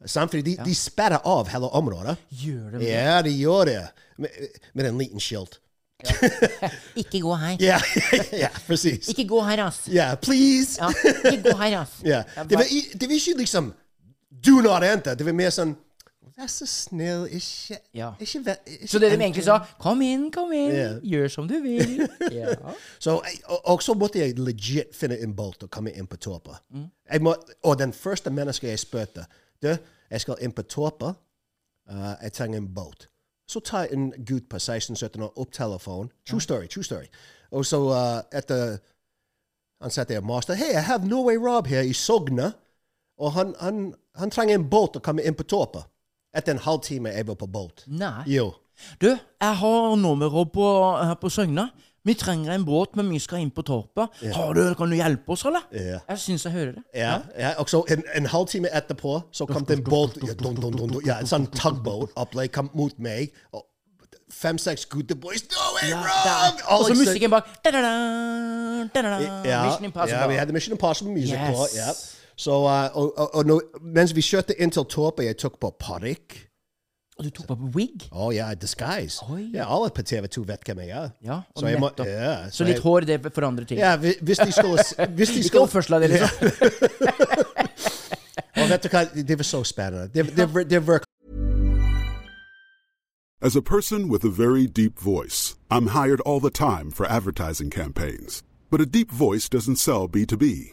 Samtidig, de, de sperrer av hele området.
Gjør det.
Ja, de gjør det. Med, med en liten skilt.
Ikke gå her.
Ja, ja, precis.
Ikke gå her, ass.
Ja, please.
Ja, ikke gå her, ass.
Ja. Det var, i- det var ikke liksom Do not enter. Det var mer sånn Vær så snill, ikke,
Ja.
ikke, vær- ikke
Så det de
enter."
egentlig sa, kom inn, kom inn,
Ja.
gjør som du vil. Ja.
Så jeg- og, og så måtte jeg legit finne en bolt og komme inn på Torpa. Jeg må, og den første mennesket jeg spurte Du, jeg skal inn på Torpa. Uh, jeg trenger en bolt. Så tar jeg en gutt på 16-17 år opp telefonen. True story, true story. Og så uh, etter Han satt der, master. Hey, I have Norway Rob her i Sogna. Og han, han, han trenger en bolt å komme inn på Torpa. Etter en halvtime jeg var på bolt.
Nei.
Jo.
Du, jeg har nummeret på, her på Søgna. Vi trenger en båt, men vi skal inn på torpet. Har du, kan du hjelpe oss, eller?
Ja.
Jeg syns jeg hører det.
Ja, ja. og så en, en halvtime etterpå så kom det en båt ja, dun, dun, dun, dun, ja, En sånn tugboat-opplegg kom mot meg. og Fem-seks gutteboys No way,
Ja,
Rob!
der. Og så musikken bak. Da-da-da, da-da-da. eh, Mission
Ja, vi
Impossible.
hadde Mission Impossible music
Yes.
på. Ja. Så, uh, og, og, og når, mens vi kjørte inn til Torpet, jeg tok på parykk.
Og du tok på wig.
Å ja, Oh, disguise.
Oi.
Ja, alle på TV2 vet hvem jeg er.
Ja, og
så jeg må,
nettopp.
ja,
Så litt
jeg-
hår, det forandrer ting.
Ja, hvi- hvis de skulle hvis de
Ikke
skulle-
oppførselen din,
Ja.
liksom.
Og Oh, vet du hva, det var så spennende. Det, det, det var
As a person with a very deep voice, I'm hired all the time for advertising campaigns. But a deep voice doesn't sell B2B,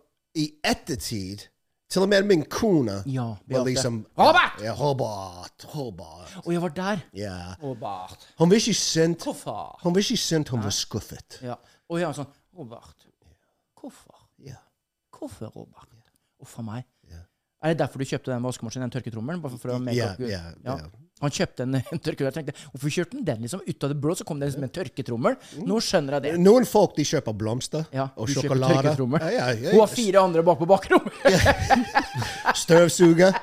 i ettertid Til og med min kone
Ja, Beate.
var liksom
Robert!
Ja, Robert! Robert.
Og jeg var der.
Ja.
Robert.
Hun var ikke sint.
Hvorfor?
Hun var ikke sint, hun var skuffet.
Ja. Og jeg var sånn Robert, hvorfor?
Ja.
Hvorfor, Robert? Uff a meg. Er det derfor du kjøpte den vaskemaskinen, den tørketrommelen? Bare for å make
Ja,
up- Gud.
ja,
Ja.
ja.
Han kjøpte en, en tørketrommel. Jeg tenkte, hvorfor kjørte han den liksom ut av det blå? Så kom det liksom en tørketrommel. Nå skjønner jeg det.
Noen folk de kjøper blomster
Ja,
og
du kjøper
sjokolade.
tørketrommel.
Ja, ja, ja.
Hun har fire andre bak på bakrommet.
Støvsuger.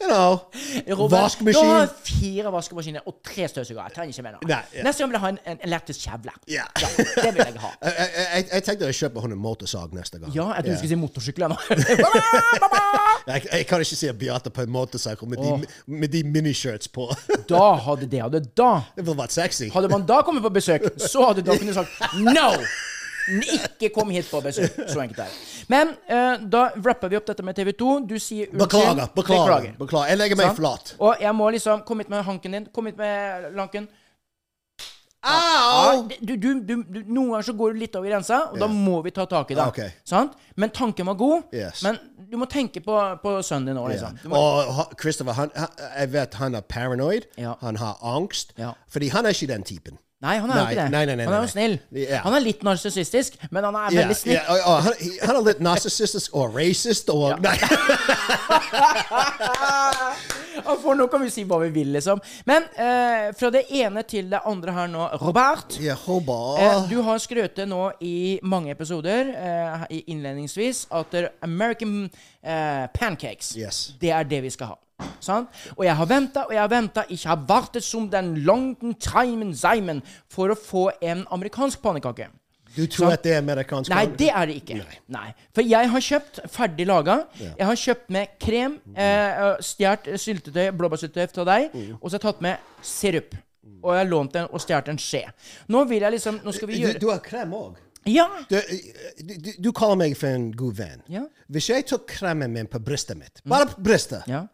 Ja, know. Vaskemaskin.
Jeg har fire vaskemaskiner og tre støvsugere. Jeg trenger ikke mer nå.
Nei, ja.
Neste gang vil jeg ha en, en elektrisk kjevle.
Ja.
det vil jeg ha.
Jeg, jeg, jeg, jeg tenkte å kjøpe hun en motorsag neste gang.
Ja, jeg tror du
Ja.
skulle si motorsykkel her nå.
Jeg, jeg kan ikke se Beate på en motorsag med,
Åh.
de, med de miniskirts på.
da hadde det hadde da
det ville vært sexy.
Hadde man da kommet på besøk, så hadde da kunnet sagt no! N- Ikke kom hit på besøk. Så enkelt er det. Men eh, da wrapper vi opp dette med TV 2. Du sier unnskyld.
Beklager, beklager. beklager. Jeg legger meg
Sant?
flat.
Og jeg må liksom Kom hit med hanken din. Kom hit med lanken.
Au!
Du, du, du, du, noen ganger så går du litt over grensa, og da må vi ta tak i det.
Ok.
Sant? Men tanken var god.
Yes.
Men du må tenke på, på sønnen din òg, liksom. Du må,
Og ha- Christopher, han, han, jeg vet han er paranoid.
Ja.
Han har angst.
Ja.
Fordi han er ikke den typen.
Nei, han er jo
Nei,
ikke det.
nei, nei, nei,
han er jo
nei,
snill.
nei. Ja.
Han er litt narsissistisk, men han er
Ja,
veldig snill.
ja, og- og han, han er litt narsissistisk og racist og Nei!
Ja, For nå kan vi si hva vi vil, liksom. Men eh, fra det ene til det andre her nå, Robert.
Ja,
Eh,
Hobart.
du har skrøtet nå i mange episoder, eh, i- innledningsvis, at det er American eh, pancakes,
Yes.
det er det vi skal ha. Sant? Og jeg har venta og jeg har venta, ikke har vartet som den langen timen seimen for å få en amerikansk pannekake.
Du tror at det er amerikansk?
Nei, det er det ikke. Nei. For jeg har kjøpt ferdig laga. Jeg har kjøpt med krem,
Mm.
eh, stjålet syltetøy, blåbærsyltetøy fra deg,
Mm.
og så har jeg tatt med sirup. Og jeg har lånt en og stjålet en skje. Nå vil jeg liksom Nå skal vi
Du,
gjøre
du har krem òg.
Ja!
Du, du, du kaller meg for en god venn.
Ja.
Hvis jeg tok kremen min på brystet mitt, bare på brystet,
ja.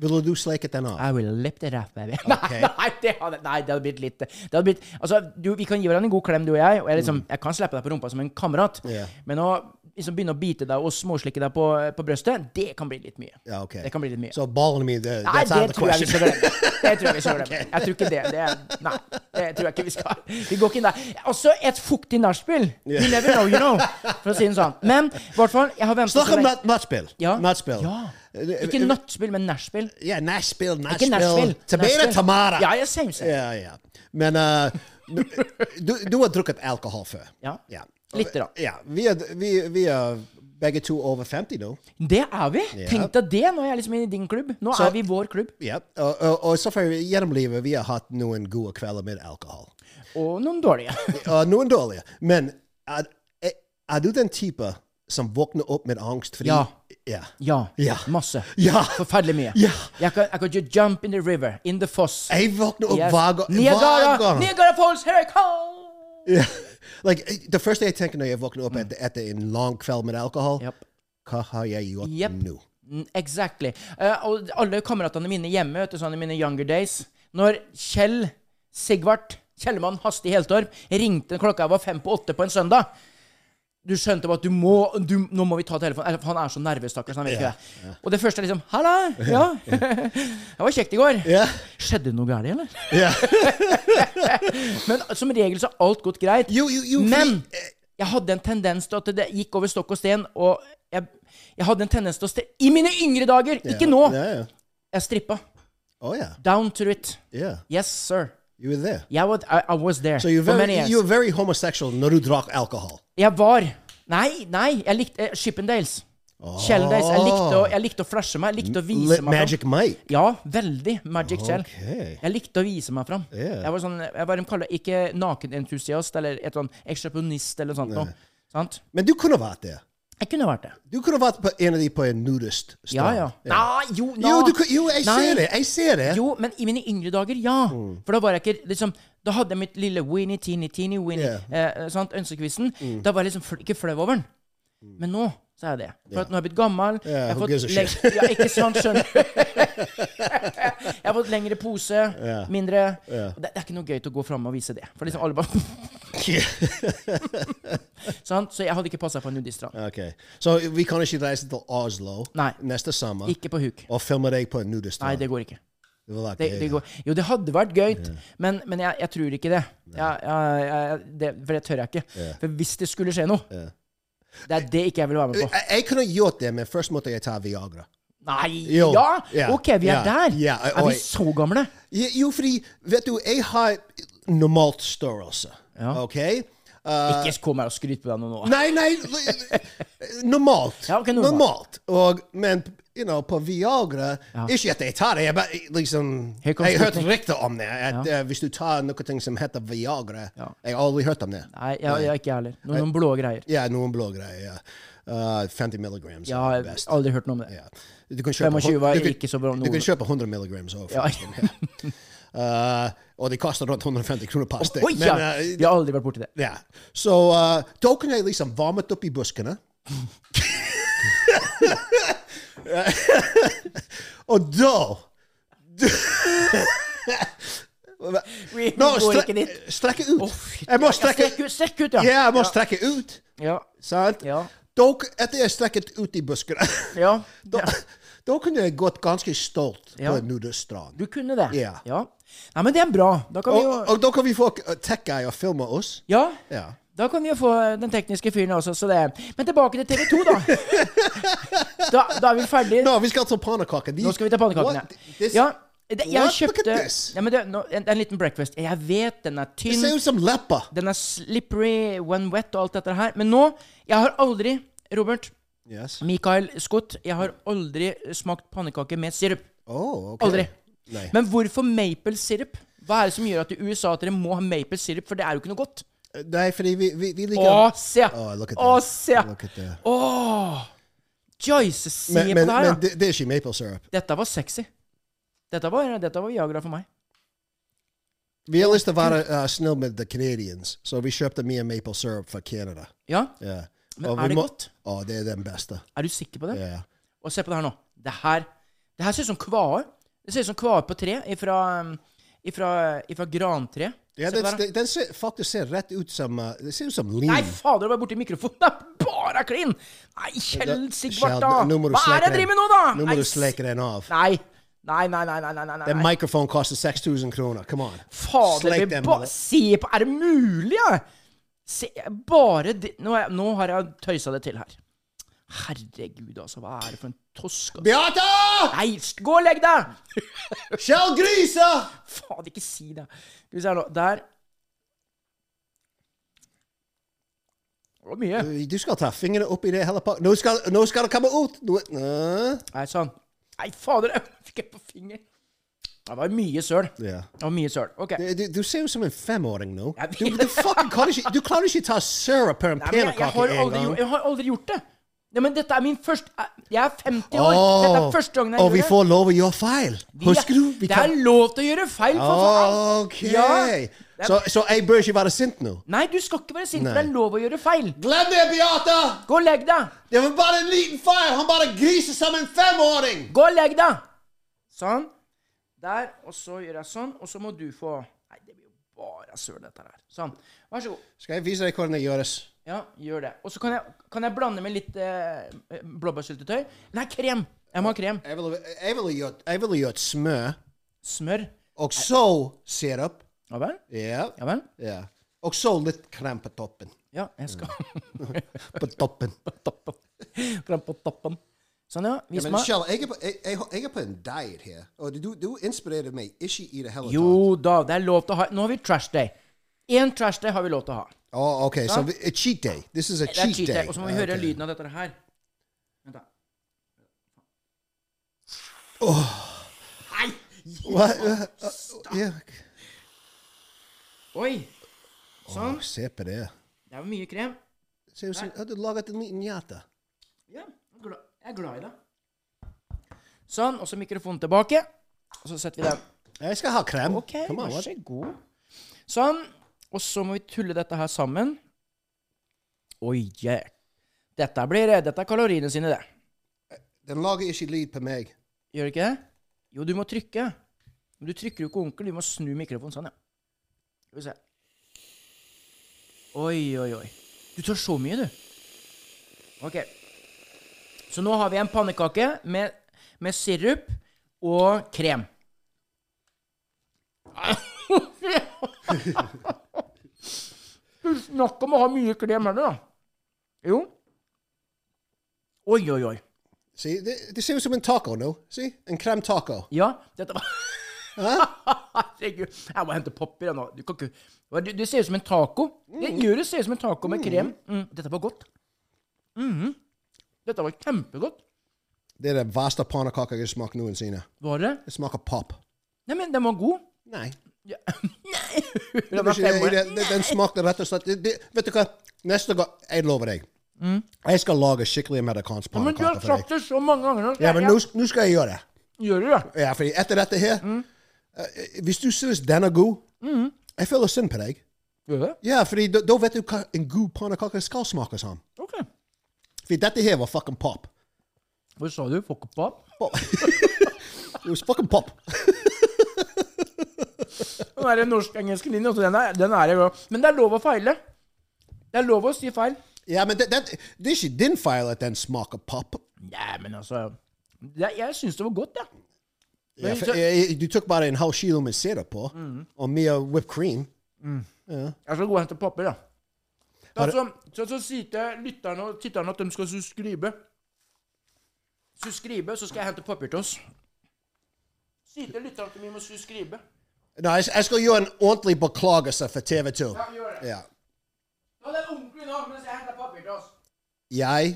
ville du sleket den av?
I will lip it up, baby.
Ok.
Nei, det hadde, nei, det hadde blitt litt Det hadde blitt Altså, du, vi kan gi hverandre en god klem, du og jeg, og jeg, liksom, jeg kan slippe deg på rumpa som en kamerat,
Mm. Ja.
men å liksom begynne å bite deg og småslikke deg på, eh, på brøstet, det kan bli litt mye.
Ja, ok.
Det kan bli litt mye.
Så ballen min, det,
Nei,
that's
det
out of the
tror jeg vi
question.
skal glemme. Det tror jeg vi skal glemme. Jeg tror ikke det. det er, nei, det tror jeg ikke vi skal. Vi går ikke inn der. Også et fuktig nachspiel. You never know, you know. For å si det sånn. Men i hvert fall, jeg har ventet
Snakk om
lenge-
nat- nattspill.
Ja.
Nattspill.
Ja. Ikke nachspiel, men nachspiel.
Eh, Ja, nachspiel,
Ikke
nachspiel.
nachspiel.
Tomato,
Nachspiel.
tomato.
Ja, jeg same, same.
Ja, ja. Men eh, du, du har drukket alkohol før.
Ja. Litt da.
Ja. Vi er, vi, vi er begge eh, to over 50 nå.
Det er vi. Tenk deg det. Nå er jeg liksom i din klubb. Nå
Så-
er vi vår klubb.
Ja. Eh, oh, Og, og, og selvfølgelig, gjennom livet, vi har hatt noen gode kvelder med alkohol.
Og noen dårlige.
Og noen dårlige. Men er, er- er du den type som våkner opp med angst? Fordi,
Ja.
Ja.
Ja.
Ja.
Masse.
Ja.
Forferdelig mye.
Ja.
Jeg kan, jeg kan jo jump in the river. In the foss.
Jeg våkner opp
Yes.
hver gang. hver
Niagara,
gang.
Niagara Falls, here I come!
Ja. Like, eh, det første jeg tenker når jeg våkner opp etter, etter en lang kveld med alkohol,
Mm. Yep.
hva har jeg gjort
Yep.
nå?
Mm, Exactly. Eh, og alle kameratene mine hjemme, vet du, sånn i mine younger days Når Kjell Sigvart Kjellemann Hasti Heltorp ringte klokka var fem på åtte på en søndag Du skjønte bare at du må du, Nå må vi ta telefonen. Eller, for han er så nervøs, stakkars. Han vet ikke det. Og det første er liksom Halla! Ja. det var kjekt i går.
Ja.
Skjedde det noe galt, eller?
Ja.
Men som regel så har alt gått greit.
Jo, jo, jo, fordi-
Men jeg hadde en tendens til at det gikk over stokk og sten, og jeg, jeg hadde en tendens til å stre... I mine yngre dager! Ikke nå!
Ja, ja.
Jeg strippa.
Oh, yeah.
Down to it.
Yeah.
Yes, sir.
You were there.
Jeg var, I, I was there
So you're
for many
very,
years.
you're very homosexual når du drakk alkohol.
Jeg var Nei, nei, jeg likte eh, Shippendales.
Ah.
Sheldales. Jeg likte, å, jeg likte å flashe meg. Jeg likte å vise
Lit
meg fram.
Magic Mike.
Ja, veldig Magic Shell.
Ok.
Jeg likte å vise meg fram.
Yeah.
Jeg var sånn, jeg var de kaller ikke nakenentusiast eller et sånn eksepsjonist eller sånt noe. Sant?
Men du kunne vært der.
Jeg kunne vært det.
Du kunne vært på en av de på en nudist strand.
Ja, ja. Nei, jo, na.
Jo, du, kunne- jo, jeg
Nei.
ser det. Jeg ser det.
Jo, men i mine yngre dager, ja. For da var jeg ikke liksom Da hadde jeg mitt lille weenie, teeny, teeny, weenie, eh, sant, ønskekvisten. Da var jeg liksom fl ikke flau over den. Men nå så er jeg det. For at nå har jeg blitt gammel. jeg har
who gives a
leng-
shit?
ja, ikke sant, skjønner du. jeg har fått lengre pose, mindre Og det, det er ikke noe gøy til å gå fram og vise det. For liksom alle bare sant? Så jeg hadde ikke passa på en nudiststrand.
Ok. Så vi kan ikke reise til Oslo
Nei.
neste sommer
Ikke på huk.
og filme deg på en nudist
Nei,
strand.
det går ikke.
Det ville vært
Det,
gøy,
det
da.
går. Jo, det hadde vært gøy, men, men jeg, jeg tror ikke det. Jeg, jeg, jeg, det. For det tør jeg ikke. For hvis det skulle skje noe Det er det ikke jeg vil være med på.
Jeg, jeg kunne gjort det, men først måtte jeg ta Viagra.
Nei!
Jo.
Ja!
Ja.
OK, vi er
Ja.
der!
Ja,
Er
og-
vi så gamle?
Jo, jo, fordi Vet du, jeg har normalt størrelse.
Ja.
OK? Eh,
Ikke kom her og skryt på deg nå. nå.
Nei, nei l- Normalt.
Ja, ok, normalt.
Og, men you know, på Viagra Ikke at jeg tar det, jeg bare liksom
Her
Jeg
kommer
har hørt
spørsmål.
rykter om det. At eh, Hvis du tar noe ting som heter Viagra
Ja.
Jeg har aldri hørt om det.
Nei, jeg, jeg, ikke jeg heller. Noen, noen blå greier.
Ja, noen blå greier. Ja. Eh, 50 milligrams
Jeg
er
har
best.
aldri hørt noe om det.
Ja. Du kan
25 var
du kan-
ikke så bra om
Du
noen.
kan kjøpe 100 milligrams òg,
Ja.
forresten. Ja. Eh, og det koster rundt 150 kroner per stykk.
Oi, ja!
Men, eh,
Jeg har aldri vært borti det.
ja. Så eh, da kunne jeg liksom varmet opp i buskene. og da
Vi
Nå,
går
stre
ikke dit.
strekke ut.
Å, fy-
jeg må
Ja,
strekke
strekk ut. Strekk ut,
Ja,
ja.
jeg må strekke ut.
Ja.
Sant?
Ja.
Da, etter jeg strekket ut i buskene,
ja.
da, da kunne jeg gått ganske stolt
Ja.
på en nudestrand.
Du kunne det.
Ja.
ja. Nei, men det er bra. Da kan vi
Og,
jo
og da kan vi få eh, tech guy og filme oss.
Ja.
Ja.
Da kan vi jo få den tekniske fyren også, så det Men tilbake til TV2, da. da, da er vi ferdige.
Nå, vi skal ta pannekaker. De-
Nå skal vi ta pannekakene.
What? This-
Ja, det, jeg
What? Look
kjøpte
at this.
ja, men det, nå, en, en liten breakfast. Jeg vet den er
Det
tynn,
ser ut som lepper.
den er slippery when wet og alt dette her. Men nå Jeg har aldri, Robert,
Yes.
Michael Scott, jeg har aldri smakt pannekaker med sirup.
Oh, ok.
Aldri.
Nei.
Men hvorfor maple sirup? Hva er det som gjør at i USA at dere må ha maple sirup, for det er jo ikke noe godt?
Nei, fordi vi, vi, vi liker
Å, se!
Oh, look at
Å,
that.
se!
Look at that.
Åh! Joyce, se
Men, men,
på det her,
men
da.
det, det er ikke maple syrup.
Dette var sexy. Dette var, dette var Viagra for meg.
Vi har lyst til å være uh, snill med the Canadians, så vi kjøpte mye maple syrup fra Canada.
Ja,
Ja.
Men
Og
er
vi
det
må-
godt?
Å, det er den beste.
er du sikker på det?
Ja.
Og se på det her nå. Det her, det her ser ut som kvae. Det ser ut som kvae på tre ifra, um, ifra, ifra grantre.
Ja,
Se på
den,
det her.
den, den ser, faktisk ser rett ut som uh, Det ser ut som lin.
Nei, fader, du var borti mikrofonen! Det er bare klin! Nei, Kjell Sigvart, da!
Nå må du
Hva
sleke
er det jeg
den.
driver med nå, da?!
Nå må
Nei,
du sleke den av.
Nei, nei, nei, nei, nei, nei, nei,
Den
nei.
mikrofonen koster 6000 kroner. Come on.
Fader,
Slek
vi
den
ba
med det.
se på Er det mulig, ja? Se, bare det nå, er- nå har jeg tøysa det til her. Herregud, altså. Hva er det for en tosk? altså?
Beate!
Nei, sk- gå og legg deg!
Kjell Grise!
Faen, ikke si det. Skal vi se her nå. Der. Det var mye.
Eh, Du skal ta fingrene oppi det hele pakka. Nå, skal- nå skal det komme ut! Nå, Eh? Nå.
Nei, sånn. Nei, fader, jeg fikk jeg på fingeren. Det var mye søl.
Ja.
Det var mye søl. OK.
Du, du, du ser ut som en femåring nå.
Jeg vet
Du, du, fucking kan ikke, du klarer ikke ta syrup på en
Nei, men jeg, jeg,
pannekake
har
en
aldri, gjort-
gang.
jeg har aldri gjort det. Nei, men dette er min første Jeg er 50 år. Dette
Åh,
er første gangen jeg
og vi
gjør det.
får lov å gjøre feil. Husker du? Vi
det er lov til å gjøre feil, for faen!
OK.
Ja.
Så, så jeg bør ikke være sint nå?
Nei, du skal ikke være sint, for
Nei.
det er lov å gjøre feil.
Glem det, Beate!
Gå og legg deg!
Det var bare en liten feil. Han bare griser som en femåring.
Gå og legg deg! Sånn. Der. Og så gjør jeg sånn, og så må du få Nei, det blir jo bare søl, dette her. Sånn. Vær så god.
Skal jeg vise deg hvordan det gjøres?
Ja, gjør det. Og så kan jeg, kan jeg blande med litt eh, blåbærsyltetøy. Nei, krem! Jeg må ha krem.
Jeg ville jeg ville gjort, jeg ville gjort smør,
Smør.
og så sirup.
Ja vel?
Ja.
Ja vel?
ja. Og så litt krem på toppen.
Ja, jeg skal
På toppen.
på toppen. Krem på toppen. Sånn, ja.
Ja,
Vis
men
meg.
Kjell, jeg, er på- jeg, jeg, jeg er på en diet her, og du, du inspirerer meg ikke i det hele tatt.
Jo da, det er lov til å ha Nå har vi trash day. Én trash day har vi lov til å ha.
Oh, ok, så vi- a cheat day. This is a
Det er
cheat,
Eh, cheat day.
day.
Og så må vi høre
Ok.
lyden av dette her. Vent, da. Nei!
Hva-
Oh,
hva- Oh, ja.
Oi! Sånn.
Åh, se på det.
Det er jo mye krem.
Se ut som har du laget en liten hjerte.
Ja, jeg er glad, jeg er glad i det. Sånn. Og så mikrofonen tilbake. Og så setter vi den.
Jeg skal ha krem.
OK, oh,
Come on,
vær
what?
så god. Sånn. Og så må vi tulle dette her sammen. Oi, yeah. Dette blir Dette er kaloriene sine, det.
Den lager ikke lyd på meg.
Gjør det ikke det? Jo, du må trykke. Men du trykker jo ikke ordentlig. Du må snu mikrofonen sånn, ja. Skal vi se. Oi, oi, oi. Du tar så mye, du. OK. Så nå har vi en pannekake med, med sirup og krem. Du snakker om å ha mye krem her, da. Jo. Oi, oi, oi.
Se, det, det ser ut som en taco nå. Se, en krem taco.
Ja, dette var
Hæ?
Herregud. Jeg må hente popper jeg, nå. Du, kan ikke... Hva, du, du ser ut som en taco. Det gjør du ser ut som en taco med krem. Mm. Dette var godt. Mhm. Dette var kjempegodt.
Det er det verste pannekaka jeg har smakt noensinne.
Var det?
Det smaker pop.
Nei, men den var god.
Nei.
Ja. Nei!
Det
Den
var
var
ikke,
fem
det,
år.
det, den smakte rett og slett det, det, Vet du hva? Neste gang Jeg lover deg. Jeg skal lage skikkelig amerikansk
Mm. Men du har
pannekake for
sagt
deg.
det så mange ganger nå.
Ja, men nå nå skal jeg gjøre det.
Gjør du det?
Ja, fordi etter dette her
Mm.
eh, Hvis du synes den er god Jeg føler synd på deg.
Gjør du det?
Ja, fordi da da vet du hva en god pannekake skal smake som.
Ok.
Fordi dette her var fucking pop.
Hva sa du? Fuck opp av?
pop. It was fucking pop.
Den der norsk-engelsken din, altså, den er, den er jeg glad i. Men det er lov å feile. Det er lov å si feil.
Ja, men det, det, det er ikke din feil at den smaker pop.
Nei, men altså det, Jeg syns det var godt, jeg.
Ja,
Men
for,
så-
eh, du tok bare en halv kilo med sirup på, og mye uh, whipped cream.
Jeg skal gå og hente papir, da.
Har
da så, så, så sier til lytterne og titterne at de skal subscribe. Subscribe, så skal jeg hente papir til oss. Si til lytterne at vi må subscribe.
Nei, jeg, jeg skal gjøre en ordentlig beklagelse for TV 2.
Ja, gjør det.
Ja.
Ta det ordentlig nå mens jeg henter papir til oss.
Jeg,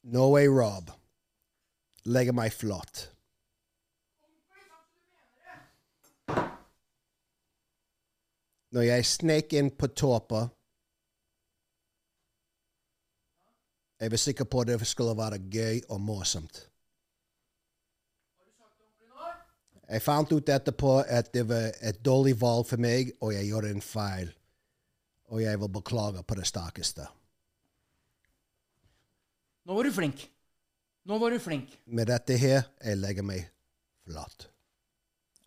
Norway Rob, legger meg flat. Når jeg snek inn på toppen Jeg var sikker på det skulle være gøy og morsomt. Jeg fant ut etterpå at det var et dårlig valg for meg, og jeg gjorde en feil. Og jeg vil beklage på det sterkeste.
Nå var du flink. Nå var du flink.
med dette her, jeg legger meg flat.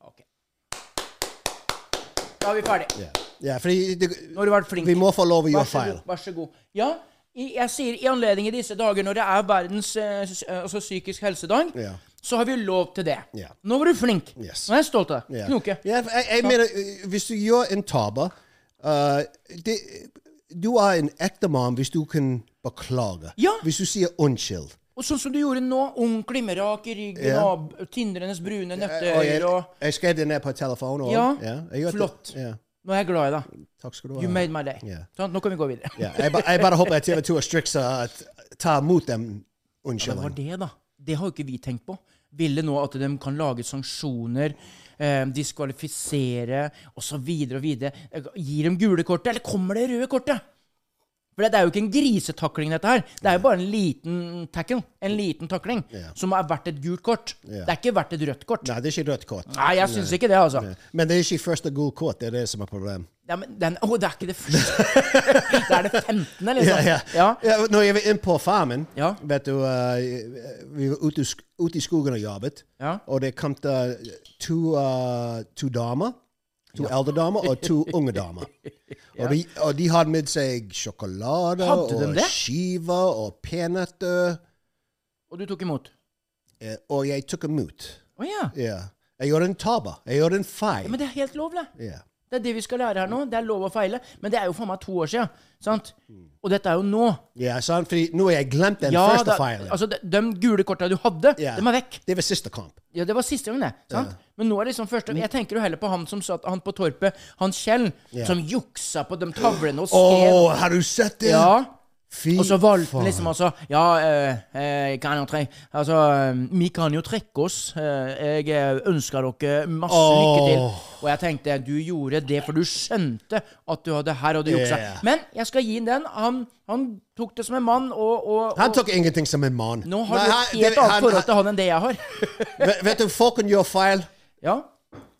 Ok. Da er vi ferdig.
Ja, fordi det,
Nå har du vært flink.
vi må få lov å
Vær
gjøre
så
feil.
god. Vær så god. Ja, i- jeg sier i anledning i disse dager når det er verdens eh, s- eh, altså psykisk helsedag,
Ja.
så har vi lov til det.
Ja.
Nå var du flink.
Yes.
Nå er jeg stolt av deg.
Ja.
Knoke.
Ja, for jeg, jeg mener, eh, hvis du gjør en tabbe eh, det- Du er en ekte mann hvis du kan beklage.
Ja.
Hvis du sier unnskyld.
Og sånn som du gjorde nå, ordentlig med rak i ryggen
Ja.
og b- tindrenes brune
Eh, og jeg,
nøtteøyne og
jeg skrev det ned på telefonen. og-
Ja,
jeg gjør det.
flott.
Ja,
Nå er jeg glad i deg.
takk skal du ha.
You made my day.
Ja.
Sånn, nå kan vi gå videre.
Ja, jeg, ba- jeg bare håper at TV2 og Strix eh, t- tar mot dem
Det var
unnskyldningen.
det, da. Det har jo ikke vi tenkt på. Ville nå at de kan lage sanksjoner, eh, diskvalifisere osv. Gir dem gule kortet, eller kommer det røde kortet? For det er jo ikke en grisetakling, dette her. Det er jo bare en liten tackle. En liten takling
Ja.
som er verdt et gult kort.
Ja.
Det er ikke verdt et rødt kort. Nei,
Nei, det er ikke rødt kort.
jeg syns ikke det, altså.
Men det er ikke første gul kort. Det er det som er problemet.
Ja, men den, å, det er ikke det første. det er det 15., liksom.
Ja, ja.
Ja.
Ja, når jeg var inne på farmen,
Ja.
vet du, eh, vi var ute, i sk- ute i skogen og jobbet,
Ja.
og det kom til to, eh, to damer, to eldre damer og to unge damer. og, de, og de hadde med seg sjokolade
Hadde de
og
det?
skiver og peanøtter,
Og du tok imot?
eh, og jeg tok imot.
Å ja.
Ja. Jeg gjorde en tabbe. Jeg gjorde en feil.
Men det er helt lovlig.
Ja.
Det er det vi skal lære her nå. Det er lov å feile. Men det er jo faen meg to år siden. Sant? Og dette er jo nå.
Ja, sant? Fordi nå har jeg glemt den
Ja,
første
da-
feilen.
altså, de, de gule korta du hadde,
Ja.
dem er vekk.
Det var siste kamp.
Ja, Det var siste gangen, det. sant? Men nå er det liksom første Jeg tenker jo heller på han som satt han på torpet, han Kjell,
Ja.
som juksa på de tavlene og
Å,
skrev.
har du sett det?
Ja.
Fy
Og så valgte han
faen.
liksom altså Ja, eh, eh, kan jo tre, altså, eh, vi kan jo trekke oss. Eh, jeg eh, ønsker dere masse lykke til. Og
Åh.
jeg tenkte du gjorde det, for du skjønte at du hadde her og du juksa.
Yeah.
Men jeg skal gi ham den. Han, han tok det som en mann, og, og,
Han
og
tok ingenting som en mann.
nå har
Nei,
du
han-
et helt
det-
annet
han-
forhold til han enn det jeg har.
Vet- Vet du, folk kan gjøre feil.
ja.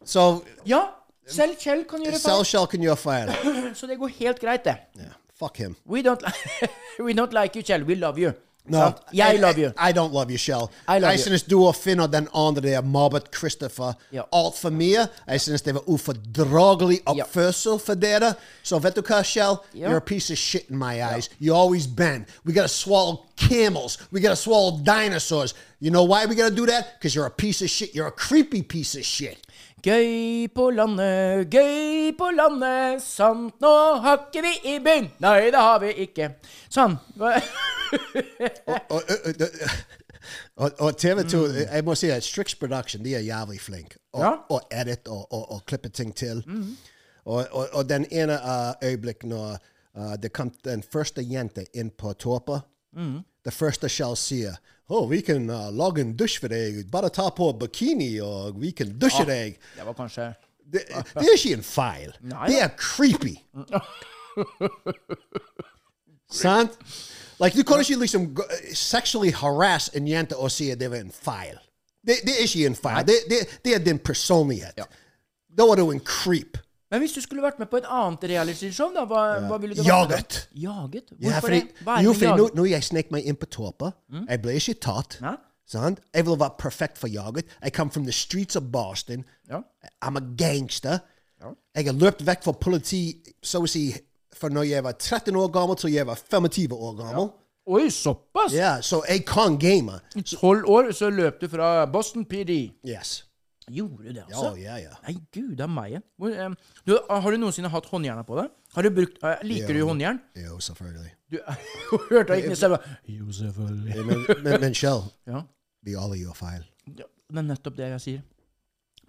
Så
ja. Selv Kjell kan gjøre feil,
Selskjell kan gjøre feil.
så det går helt greit, det.
Ja, Fuck him.
We don't, li- we don't like you, Kjell. We love you.
No,
Sant?
I-
Jeg love you.
I, I don't love you, Shell.
I love
jeg
you.
synes du og Finn og den andre der, mobbet Christopher,
Ja.
altfor mye. Jeg synes det var ufordragelig oppførsel for dere. Så vet du hva, Shell?
Ja.
You're a piece of shit in my eyes. You always been. We gotta swallow camels. We gotta swallow dinosaurs. You know why we gotta do that? Because you're a piece of shit. You're a creepy piece of shit.
Gøy på landet, gøy på landet, sant, nå hakker vi i
Oh,
byen. Nei, det har vi ikke. Sånn. Hva-
uh, Og- og- og- Og, og TV 2 Jeg må si at Strix Production de er jævlig flinke. Og,
Ja.
og edit og, og, og klippe ting til. Og, og, og den ene uh, øyeblikk når uh, det kom den første jente inn på Torpa Det første Shell sier oh, 'Vi kan uh, lage en dusj for deg. Bare ta på bikini, og vi kan dusje deg.'
Det var kanskje
Det, det er ikke en feil. Det er creepy. Sant? Like, du kan ikke liksom gå- uh, sexually harass en jente og si at det var en feil. Det, det er ikke en feil. Det, det, det er din personlighet.
Ja.
Da var du en creep.
Men hvis du skulle vært med på et annet realityshow, da, hva, hva ville du vært med
Jaget.
på? Jaget?
Ja,
Hvorfor
fordi-
det? Hva er
jo,
det med
fordi nå,
jaget?
nå jeg snek meg inn på tåpa. Jeg ble ikke tatt.
Nei.
Sant? Jeg ville vært perfekt for jaget. Jeg kom from the streets of Boston.
Ja.
I'm a gangster. Jeg har løpt vekk fra politi så å si fra når jeg var 13 år gammel til jeg var 25 år gammel.
Oi, såpass?
Ja, Så jeg kan game.
Tolv år, så løp du fra Boston PD.
Yes. Oh,
Gjorde du det,
Ja,
altså?
ja, ja.
Nei, gud av meg. Hvor, em, du, har du noensinne hatt håndjerna på deg? Har du brukt, eh, liker du håndjern?
Jo, selvfølgelig.
Du hørte ikke stemme. Jo, selvfølgelig.
Men, men, men Kjell,
Ja.
vi alle gjør feil.
Ja, Det er nettopp det jeg sier.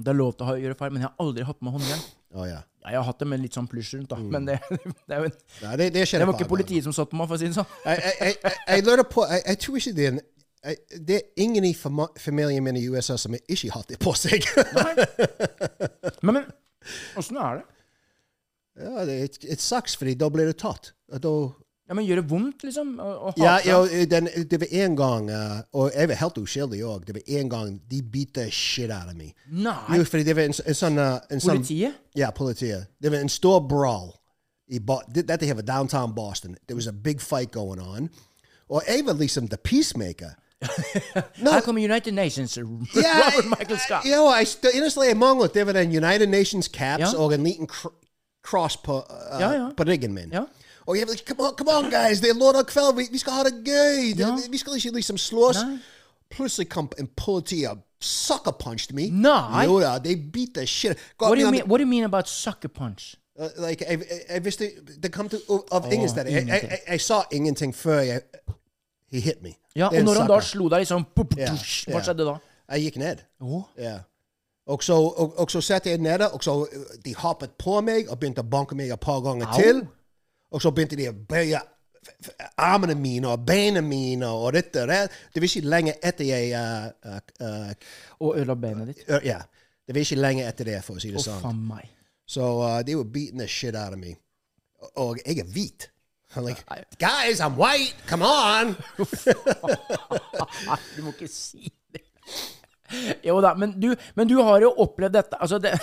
Det er lov til å ha- gjøre feil, men jeg har aldri hatt med håndjern.
Å ja.
Ja, jeg har hatt det med litt sånn plusj rundt, da. Men det, det, er jo en,
Nei, Mm. det, det skjer
det var
bare
ikke politiet som satt på meg, for å si det sånn.
Jeg, jeg, jeg, jeg, jeg lurer på jeg, jeg tror ikke det er en jeg- det er ingen i fama- familien min i USA som ikke har det på seg.
Men, men åssen er det?
ja, det Oh, it, it sucks, fordi da blir du tatt. Og Da,
Ja, men Gjør det vondt, liksom? Å, å
ja,
hate?
ja, den, det var en gang, eh, og jeg var helt uskyldig òg, det var en gang de beat the shit out of me.
Nei!
Jo, fordi det var en, s- en sånn eh, en sånn-
Politiet?
Yeah, Politeia. There was in store brawl. He bought that they have a downtown Boston. There was a big fight going on. Or Ava Leesom, the peacemaker. no,
Her kommer United Nations.
yeah,
Robert Michael Scott.
I, you know, I still honestly among with they were in United Nations caps
Yeah.
or in Leighton cr- Cross per, uh,
Yeah, yeah.
Berriganman.
Yeah.
Or you have like, come on, come on, guys! They're Lord Ockfell. We, we ska ha det gøy.
Yeah.
Vi ska liksom liksom slåss.
Nej.
Plutselig kom en politi og uh, sucker punched me.
Nej.
Jo, da, they beat the shit. Got
What do,
me
you
on the-
mean, what do you mean about sucker punch?
Uh, like jeg, jeg, jeg visste Det kom til av av
Åh,
ingenting. Jeg, jeg,
ingenting.
jeg, jeg sa ingenting før jeg He hit me.
Ja,
Det er
Og
en
når han da
sucker. Uh,
slo deg, liksom pup,
Ja,
tusj, Hva
ja.
skjedde da?
Jeg gikk ned.
Åh.
Ja. Og så, og, og så satt jeg nede, og så uh, de hoppet på meg og begynte å banke meg et par ganger
Au.
til. Og så begynte de å bøye f- f- armene mine og beina mine og dette og det. Det var ikke lenge etter jeg uh, uh, uh,
Og ødela benet ditt.
øh, Ja. Det var ikke lenge etter det, for å si det
Å,
sånn.
faen meg.
So uh, they were beating the shit out of me. Oh, I get beat. I'm like, guys, I'm white. Come on.
Du må ikke si det. Jo da, men du, men du har jo opplevd dette. Altså, det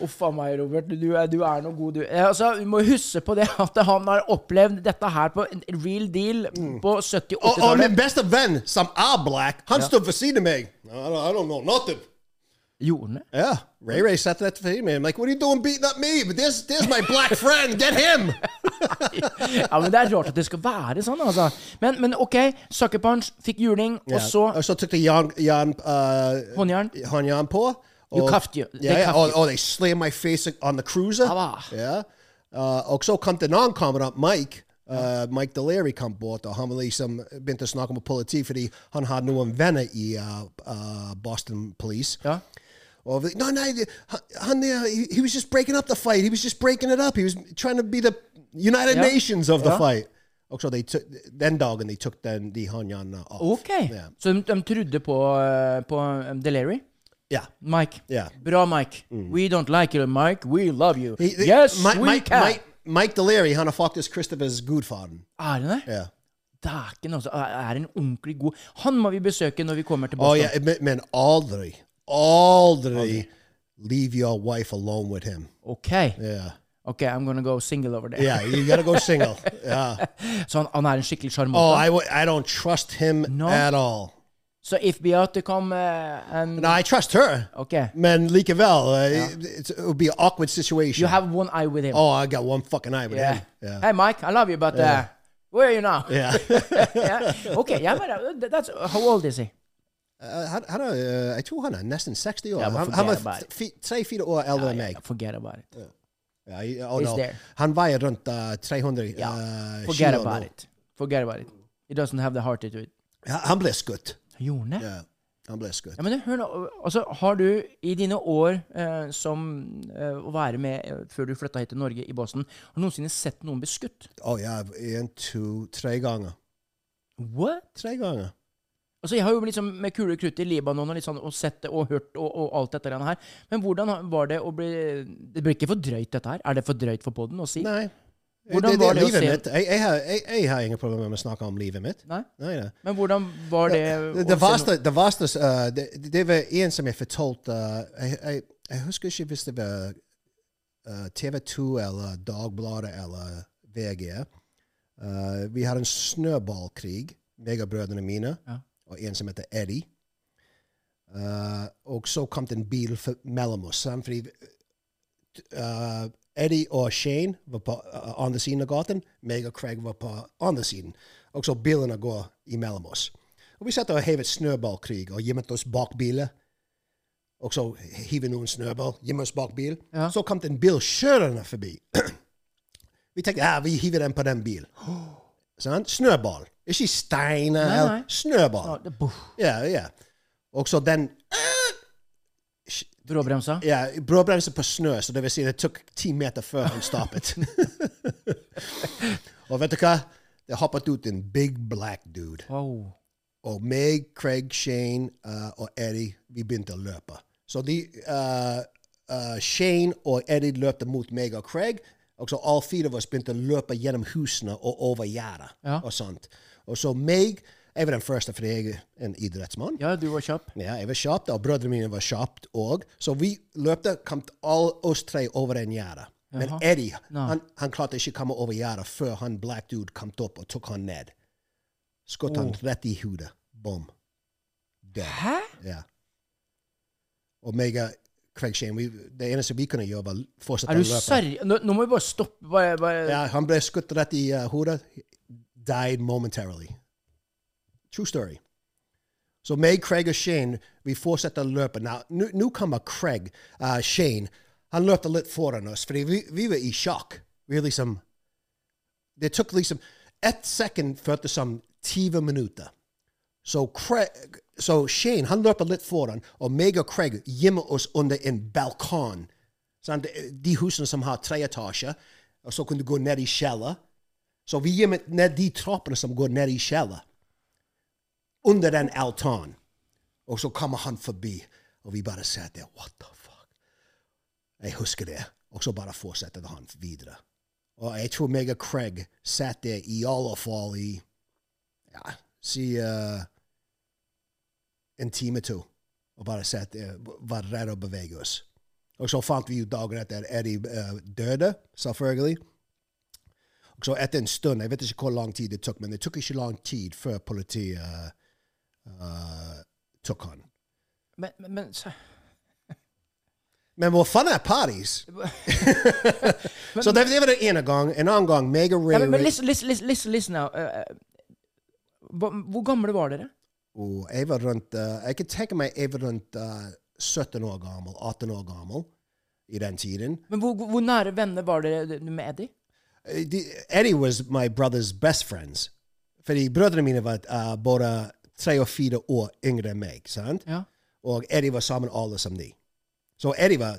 Uff a meg, Robert. Du er, du er noe god, du. Eh, Altså, vi må huske på det at han har opplevd dette her på en real deal på
Oh, oh my
70-80-tallet.
best of Ben, some are black. Hunt stood for seeing me. I don't, I don't know nothing.
Gjorde han det?
Yeah, Ray Ray sat that for me. I'm like, what are you doing beating up me? But there's there's my black friend. Get him.
Ja, men Det er rart at det skal være sånn, altså. Men, men OK, sucker punch, fikk juling, og så
I also took the yarn yarn uh,
håndjern.
Hanyan Paw.
You cuffed you. They
Yeah, yeah.
cuffed
oh,
you.
oh, they slammed my face on the cruiser.
Ah.
Yeah. Uh, och så kom det någon kommandant, Mike. Uh, Mike Deleri kom bort och han var liksom, begynte snacka med politi för han hade någon vänner i uh, uh, Boston Police.
Ja.
Och vi, no, nej, det- han, han, eh, he, he was just breaking up the fight. He was just breaking it up. He was trying to be the United
Ja.
Nations of the
Ja.
fight. Och så they took, den dagen de tog den, de Hanyan uh, off.
OK.
Ja.
Så de, de trodde på, eh, på um, Delery?
Yeah.
Mike.
Yeah. Mm.
Bra, Mike. We don't like you, Mike. We love you.
He- the-
yes,
Mi-
we
Mike,
can.
Mike, Mike Deleri, han har faktisk Christophers gudfaren.
Er han det?
Ja.
Dæken, altså. Er er en ordentlig god Han må vi besøke når vi kommer til
Oh,
Boston.
ja, men, men aldri, aldri leave your wife alone with him.
OK.
Yeah.
Ok, I'm gonna go single over there.
Yeah, you gotta go single. Yeah.
Så han, han er en skikkelig
Oh,
sjarmant.
I, w- I don't trust him
No.
at all.
Så if Beate come uh, and
No, I trust her.
Ok.
Man, Likavel, uh, it, it would be an awkward situation.
You have one eye with him.
oh, I got one fucking eye with
Yeah.
him. Yeah.
Hey, Mike. I love you, but uh, where are you now?
Yeah.
yeah. Ok, ja, men uh, that's How old is he?
uh, han, han er, uh, jeg tror han er nesten 60 år.
Ja, men
han,
forget
han
about
var
it. Ah,
fi, tre-fire år eldre enn meg.
Forget about it.
Ja, i- oh,
It's
no.
there.
Han veier rundt uh, 300
Ja,
uh,
Forget
kilo nå.
about it. Forget about it. It doesn't have the heart into it.
Han han ble skutt.
Gjorde han det?
Ja, han ble skutt.
Ja, men hør nå, altså, har du i dine år eh, som eh, å være med eh, før du flytta hit til Norge, i Boston, har du noensinne sett noen bli skutt?
Å ja, én, to, tre ganger.
What?
Tre ganger.
Altså, jeg har jo liksom med kule og krutt i Libanon og, litt sånn, og sett det og hørt og, og alt dette grann her. Men hvordan var det å bli Det blir ikke for drøyt, dette her? Er det for drøyt for podden å si?
Nei.
Hvordan var det å
livet
se-
mitt? Jeg, jeg, har- jeg, jeg har ingen problemer med å snakke om livet mitt.
Nei?
Nei, nei.
Men hvordan var det
Det,
å
det,
se no-
verste, det, verste, eh, det, det var en som jeg fortalte eh, jeg, jeg, jeg husker ikke hvis det var eh, TV 2 eller Dagbladet eller VG. Eh, vi har en snøballkrig, meg og brødrene mine,
Ja.
og en som heter Eddie. Eh, og så kom det en bil for, mellom oss. sant, Fordi eh, Eddie og Shane var på eh, andre siden av gaten. Meg og Craig var på andre siden. Og så bilene går imellom oss. Og vi satt og hevet snøballkrig og gjemte oss bak biler. Og så hiver noen snøball, gjemmer oss bak bil.
Ja.
Så kom det en bil kjørende forbi. vi tenkte ja, vi hiver den på den bilen. Sånn? Snøball. Ikke steiner.
Nei, nei.
eller- Snøball.
Ja, det- boff,
Ja, ja. Og så den
Bråbremsa?
ja, bråbremse på snø, så det vil si det tok ti meter før han stoppet. og vet du hva? Det hoppet ut en big black dude.
Wow.
Og meg, Craig, Shane eh, og Eddie, vi begynte å løpe. Så de, eh, eh, Shane og Eddie løpte mot meg og Craig. Og så alle fire av oss begynte å løpe gjennom husene og over gjerdet.
Ja.
Og sånt. Og så meg Jeg var den første, fordi jeg er en idrettsmann.
Ja, du var kjapp.
Ja, jeg var kjapt, og brødrene mine var kjapt òg. Så vi løpte, kom alle oss tre over en gjerde. Men
Jaha.
Eddie
Nei.
han, han klarte ikke å komme over gjerdet før han black dude kom opp og tok han ned. Skjøt han
Oh.
rett i hodet. Bom. Død.
Hæ?
Ja. Og meg og Craig Shane, vi, det eneste vi kunne gjøre, var fortsette
Er du
å løpe.
serr... Nå, nå må vi bare stoppe. Bare, bare.
Ja, han ble skutt rett i uh, hodet. Died momentarily. True story. Så meg, Craig og Shane, vi fortsetter å løpe. Nå- Nå nå kommer Craig. Uh, Shane, han løpte litt foran oss, fordi vi, vi var i sjokk. Vi liksom Det tok liksom Ett sekund føltes som 20 minutter. Så, Craig, så Shane, han løper litt foran, og meg og Craig gjemmer oss under en balkon. Sånn, de- de husene som har tre etasjer, og så kan du gå ned i kjeller. Så vi gjemmer ned de trappene som går ned i kjeller, under den altanen. Og så kommer han forbi, og vi bare ser det. What the fuck? Jeg husker det. Og så bare fortsetter han videre. Og jeg tror meg og Craig satt der i alle fall i ja, si eh, en time to, og bare satt der, var redd å bevege oss. Og så fant vi ut dagen etter at Eddie eh, døde, selvfølgelig. Og så etter en stund, jeg vet ikke hvor lang tid det tok, men det tok ikke lang tid før politiet eh, eh, tok han.
Men, men, men så-
Men hvor faen er parties? så det, det var den ene gang. En annen gang, meg og
ja,
Ray
men, men
Ray-
listen, listen, listen, listen, listen now. eh, eh, hva- hvor gamle var dere?
Og jeg var rundt eh, Jeg kan tenke meg jeg var rundt eh, 17 år gammel, 18 år gammel i den tiden.
Men hvor, hvor nære venner var dere med Eddie?
Eh, de- Eddie was my brother's best friends. Fordi brødrene mine var eh, både tre og fire år yngre enn meg. sant?
Ja.
Og Eddie var sammen alle som de. Så Eddie var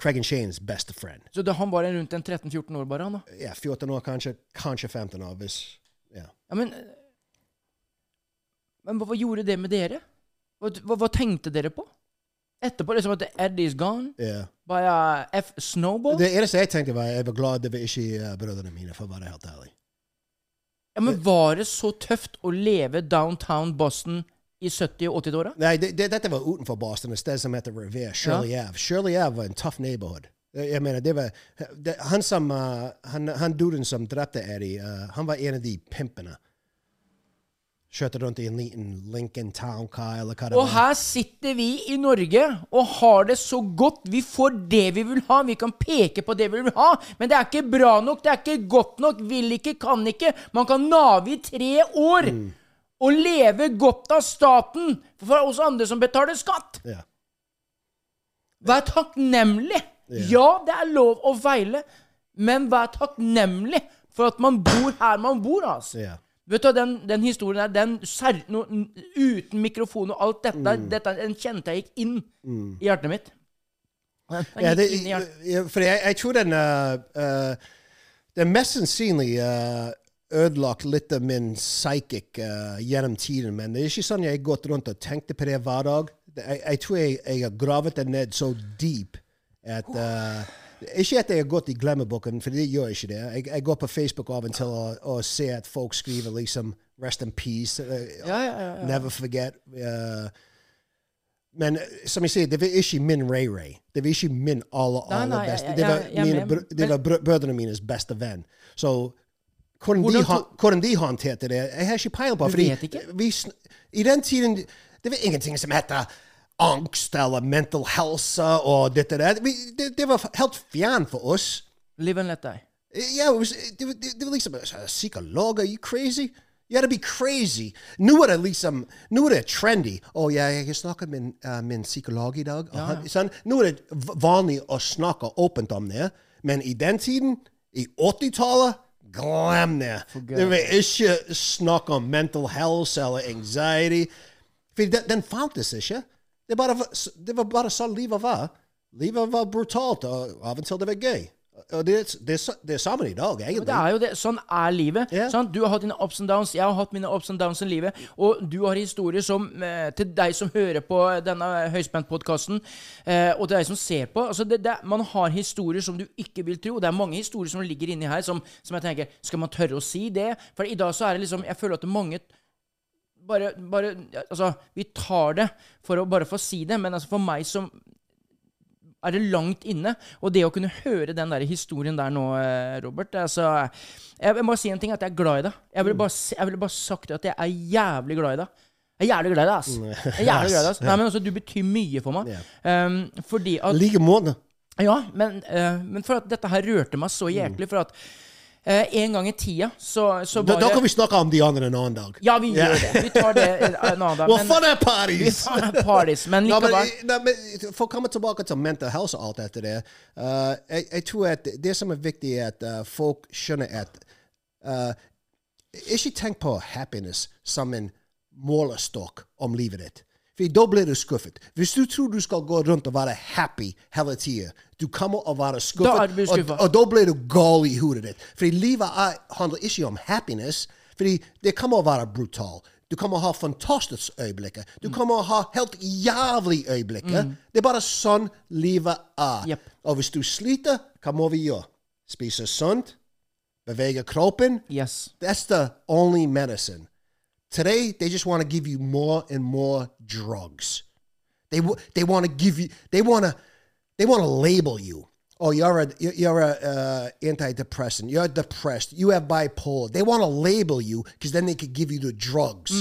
Craig and Shanes beste friend.
Så da han var en rundt en 13-14 år bare, han da?
Ja, 14 år, kanskje. Kanskje 15 år. hvis... Ja.
Ja, men eh, Men hva, hva gjorde det med dere? Hva, hva, hva tenkte dere på? Etterpå liksom at Eddie is gone?
ja.
By uh, F. Snowball?
Det eneste jeg tenkte, var jeg var glad det var ikke eh, brødrene mine, for å være helt ærlig.
ja, men var det så tøft å leve downtown Boston i 70- og 80-åra?
Nei, det, det, dette var utenfor Boston, et sted som heter Revere, Shirley Ave. Shirley Ave var en tøff neighborhood. Jeg mener, det var, det, han som, uh, han, han duden som drepte Eddie, uh, han var en av de pimpene. Kjørte rundt i en liten Lincoln Town Car, eller hva det
Og her sitter vi i Norge og har det så godt. Vi får det vi vil ha. Vi kan peke på det vi vil ha. Men det er ikke bra nok. Det er ikke godt nok. Vil ikke, kan ikke. Man kan nave i tre år og leve godt av staten for oss andre som betaler skatt.
Ja.
Vær takknemlig. Ja, det er lov å feile, men vær takknemlig for at man bor her man bor, altså.
Ja.
Vet du, hva, den, den historien der, den ser, no, n- uten mikrofon og alt dette,
Mm.
dette den kjente jeg gikk inn i hjertet mitt. Den gikk
Ja, det,
inn i hjertet.
ja, for jeg, jeg tror den eh, eh, Den mest sannsynlig uh, ødelagt litt av min psykic eh, gjennom tiden. Men det er ikke sånn jeg har gått rundt og tenkt på det hver dag. Det- Jeg, jeg tror jeg, jeg har gravet det ned så deep at eh, Ikke at jeg har gått i glemmeboken, for det gjør jeg ikke det. Jeg, jeg går på Facebook uh, av og til og, og ser at folk skriver liksom 'Rest in peace'.
Ja,
eh,
ja, ja, ja.
Never forget. eh, men eh, som jeg sier, det var ikke min Ray Ray. Det var ikke min aller,
Nei,
aller
nei,
beste.
jeg-
Det var,
jeg- jeg
mine,
men-
br det var br brødrene mines beste venn. Så hvordan,
Hvordan
de, han-
to-
hvordan de håndterte det, jeg har ikke peiling på.
Du
fordi
vet ikke?
Vi, sn- I den tiden det var ingenting som het angst eller mental helse og dette og det. Vi- Det, det var f- helt fjern for oss.
Live and let die.
Eh, Yeah, it was. It, it, it, it was like some uh, seek a log. Are you crazy? You got to be crazy. Knew what at least some knew what a trendy. Oh yeah, yeah, you snakker min uh, min psykologi dag. Ja, ja. Sånn, nå er det v- vanlig å snakke åpent om det, men i den tiden, i 80-tallet, glem det. Det var ikke snakk om mental health eller anxiety. For den, den fantes ikke. Det, er bare, var- det var bare sånn livet var. Livet var brutalt, og av og til det var gøy. Og det, er- det, er så- det er sammen i dag,
Men det
egentlig.
er jo det. Sånn er livet.
Ja.
Sant? Du har hatt dine ups and downs, jeg har hatt mine ups and downs i livet. Og du har historier som eh, Til deg som hører på denne høyspentpodkasten, eh, og til deg som ser på altså det, det, Man har historier som du ikke vil tro. Det er mange historier som ligger inni her som, som jeg tenker Skal man tørre å si det? For i dag så er det liksom Jeg føler at mange bare, bare Altså, vi tar det for å bare få si det, men altså for meg som er det langt inne. Og det å kunne høre den der historien der nå, eh, Robert altså, Jeg må si en ting, at jeg er glad i deg. Jeg
Mm.
ville bare, s- jeg ville bare sagt at jeg er jævlig glad i deg. Jeg er jævlig glad i deg, ass.
Mm.
Jeg er jævlig glad i deg, ass. Nei, men altså, du betyr mye for meg. Um, fordi
I
at
like måte.
ja, men, eh, men for at dette her rørte meg så hjertelig, for at eh, en gang i tida så, så
Mm. Da,
var
da kan vi
jeg
snakke om de andre en annen dag.
Ja, vi gjør det. Vi tar det eh, en annen dag.
Well,
men-
for that parties!
Faen, det er parties, men
Nei, men,
likevel.
nei, men For å komme tilbake til mental helse og alt dette der eh, jeg, jeg tror at det som er viktig, er at eh, folk skjønner at eh, Ikke tenk på happiness som en målestokk om livet ditt. For da blir du skuffet. Hvis du tror du skal gå rundt og være happy hele tida, du kommer å være skuffet.
Da er du skuffet.
og, og da blir du gal i hodet ditt. Fordi livet er, handler ikke om happiness. Fordi det kommer å være brutal. Du kommer å ha fantastiske øyeblikker. Du kommer å ha helt jævlige øyeblikker. Det er bare sånn livet er.
Jep.
Og hvis du sliter, hva må vi gjøre? Spise sunt, bevege kroppen.
Yes.
That's the only medicine. Today, they just want to give you more and more drugs. They w- they want to give you. They want to they want to label you. Oh, you're a you're- you're a uh, antidepressant. You're depressed. You have bipolar. They want to label you because then they could give you the drugs.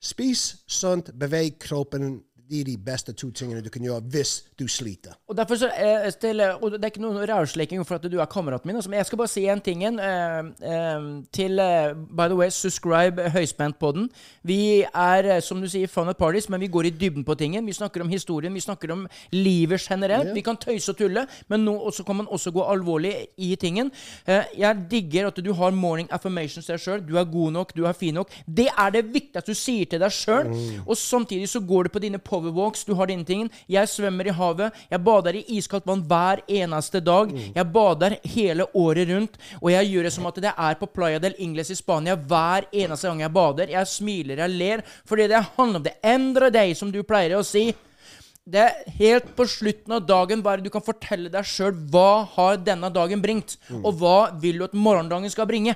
Spis, sunt, beveg, kroppen. Det er de beste to tingene du kan gjøre hvis du sliter.
Og derfor så, eh, Estelle, og det er ikke noen rævsleking for at du er kameraten min, altså, men jeg skal bare si en ting igjen, eh, eh, til, eh, by the way, subscribe eh, høyspent på den. Vi er, eh, som du sier, fun at parties, men vi går i dybden på tingen. Vi snakker om historien, vi snakker om livet generelt. Vi kan tøyse og tulle, men nå også kan man også gå alvorlig i tingen. Eh, jeg digger at du har morning affirmations til deg sjøl. Du er god nok, du er fin nok. Det er det viktigste du sier til deg sjøl. Og samtidig så går du på dine powerwalks, du har dine ting. Jeg svømmer i havet, jeg bader i iskaldt vann hver eneste dag. Jeg bader hele året rundt, og jeg gjør det som at det er på Playa del Ingles i Spania hver eneste gang jeg bader. Jeg smiler, jeg ler, fordi det handler om det. Endre deg, som du pleier å si. Det er helt på slutten av dagen bare du kan fortelle deg sjøl hva har denne dagen bringt, og hva vil du at morgendagen skal bringe.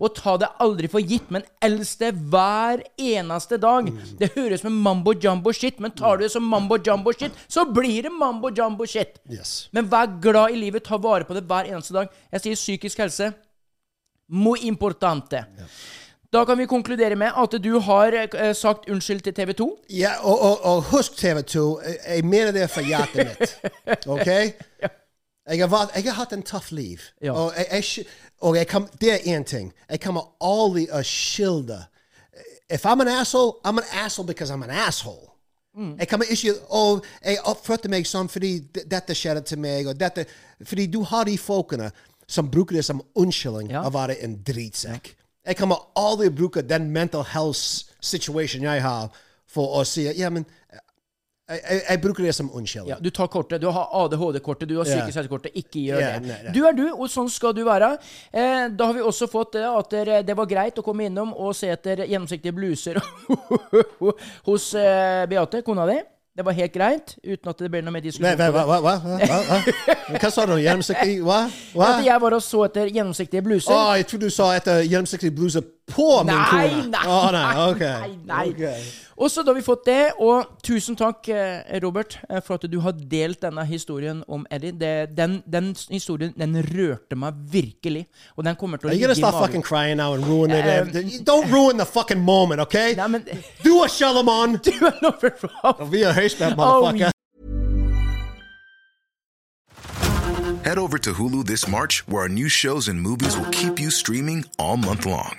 Og ta det aldri for gitt, men elsk det hver eneste dag. Det høres med mambo jumbo shit, men tar du det som mambo jumbo shit, så blir det mambo jumbo shit.
Yes.
Men vær glad i livet, ta vare på det hver eneste dag. Jeg sier psykisk helse. Muy importante. Da kan vi konkludere med at du har eh, sagt unnskyld til TV 2.
Ja, og, og, og husk TV2, jeg- jeg mener det fra hjertet mitt. OK? Jeg har, vært, jeg har hatt en tøff liv.
Ja.
Og, jeg, jeg, sk- og jeg kom, det er én ting. Jeg kommer aldri å skylde If I'm an asshole, I'm an asshole because I'm an asshole. Jeg kommer ikke å Jeg oppførte meg sånn fordi d- dette skjedde til meg, og dette Fordi du har de folkene som bruker det som unnskyldning
Ja.
å være en drittsekk. Jeg kommer aldri bruke den mental health situation jeg har, for å si ja, men jeg, jeg, jeg bruker det som
Ja,
unnskyldning.
du tar kortet. Du har ADHD-kortet, du har
Ja.
psykisk helse-kortet. Ikke gjør
Ja,
det.
nei, nei.
Du er du, og sånn skal du være. Eh, da har vi også fått eh, at dere- det var greit å komme innom og se etter gjennomsiktige bluser hos eh, Beate, kona di. Det var helt greit, uten at det ble noe mer
Nei,
diskusjon.
Hva,
på
hva,
det.
hva, hva, hva, hva? hva sa du? Gjennomsiktig? Hva? hva?
At jeg var og så etter gjennomsiktige bluser.
Å, jeg trodde du sa etter gjennomsiktig bluse på min
Nei,
kone.
Ah, nei,
Å, nei, ok.
nei, nei.
Ok.
Og så da har vi fått det, og tusen takk, eh, Robert, eh, for at du har delt denne historien om Eddie. Det, den, den s- historien den rørte meg virkelig, og den kommer til å
Are you gonna
ligge i
stop
magen.
fucking crying now and ruin it?
Um,
Everything? Don't ruin the fucking moment, okay?
Nei, men
Do a Shalomon.
du er nå for faen.
Vi har høyst that
Oh,
motherfucker.
Head over to Hulu this March, where our new shows and movies will keep you streaming all month long.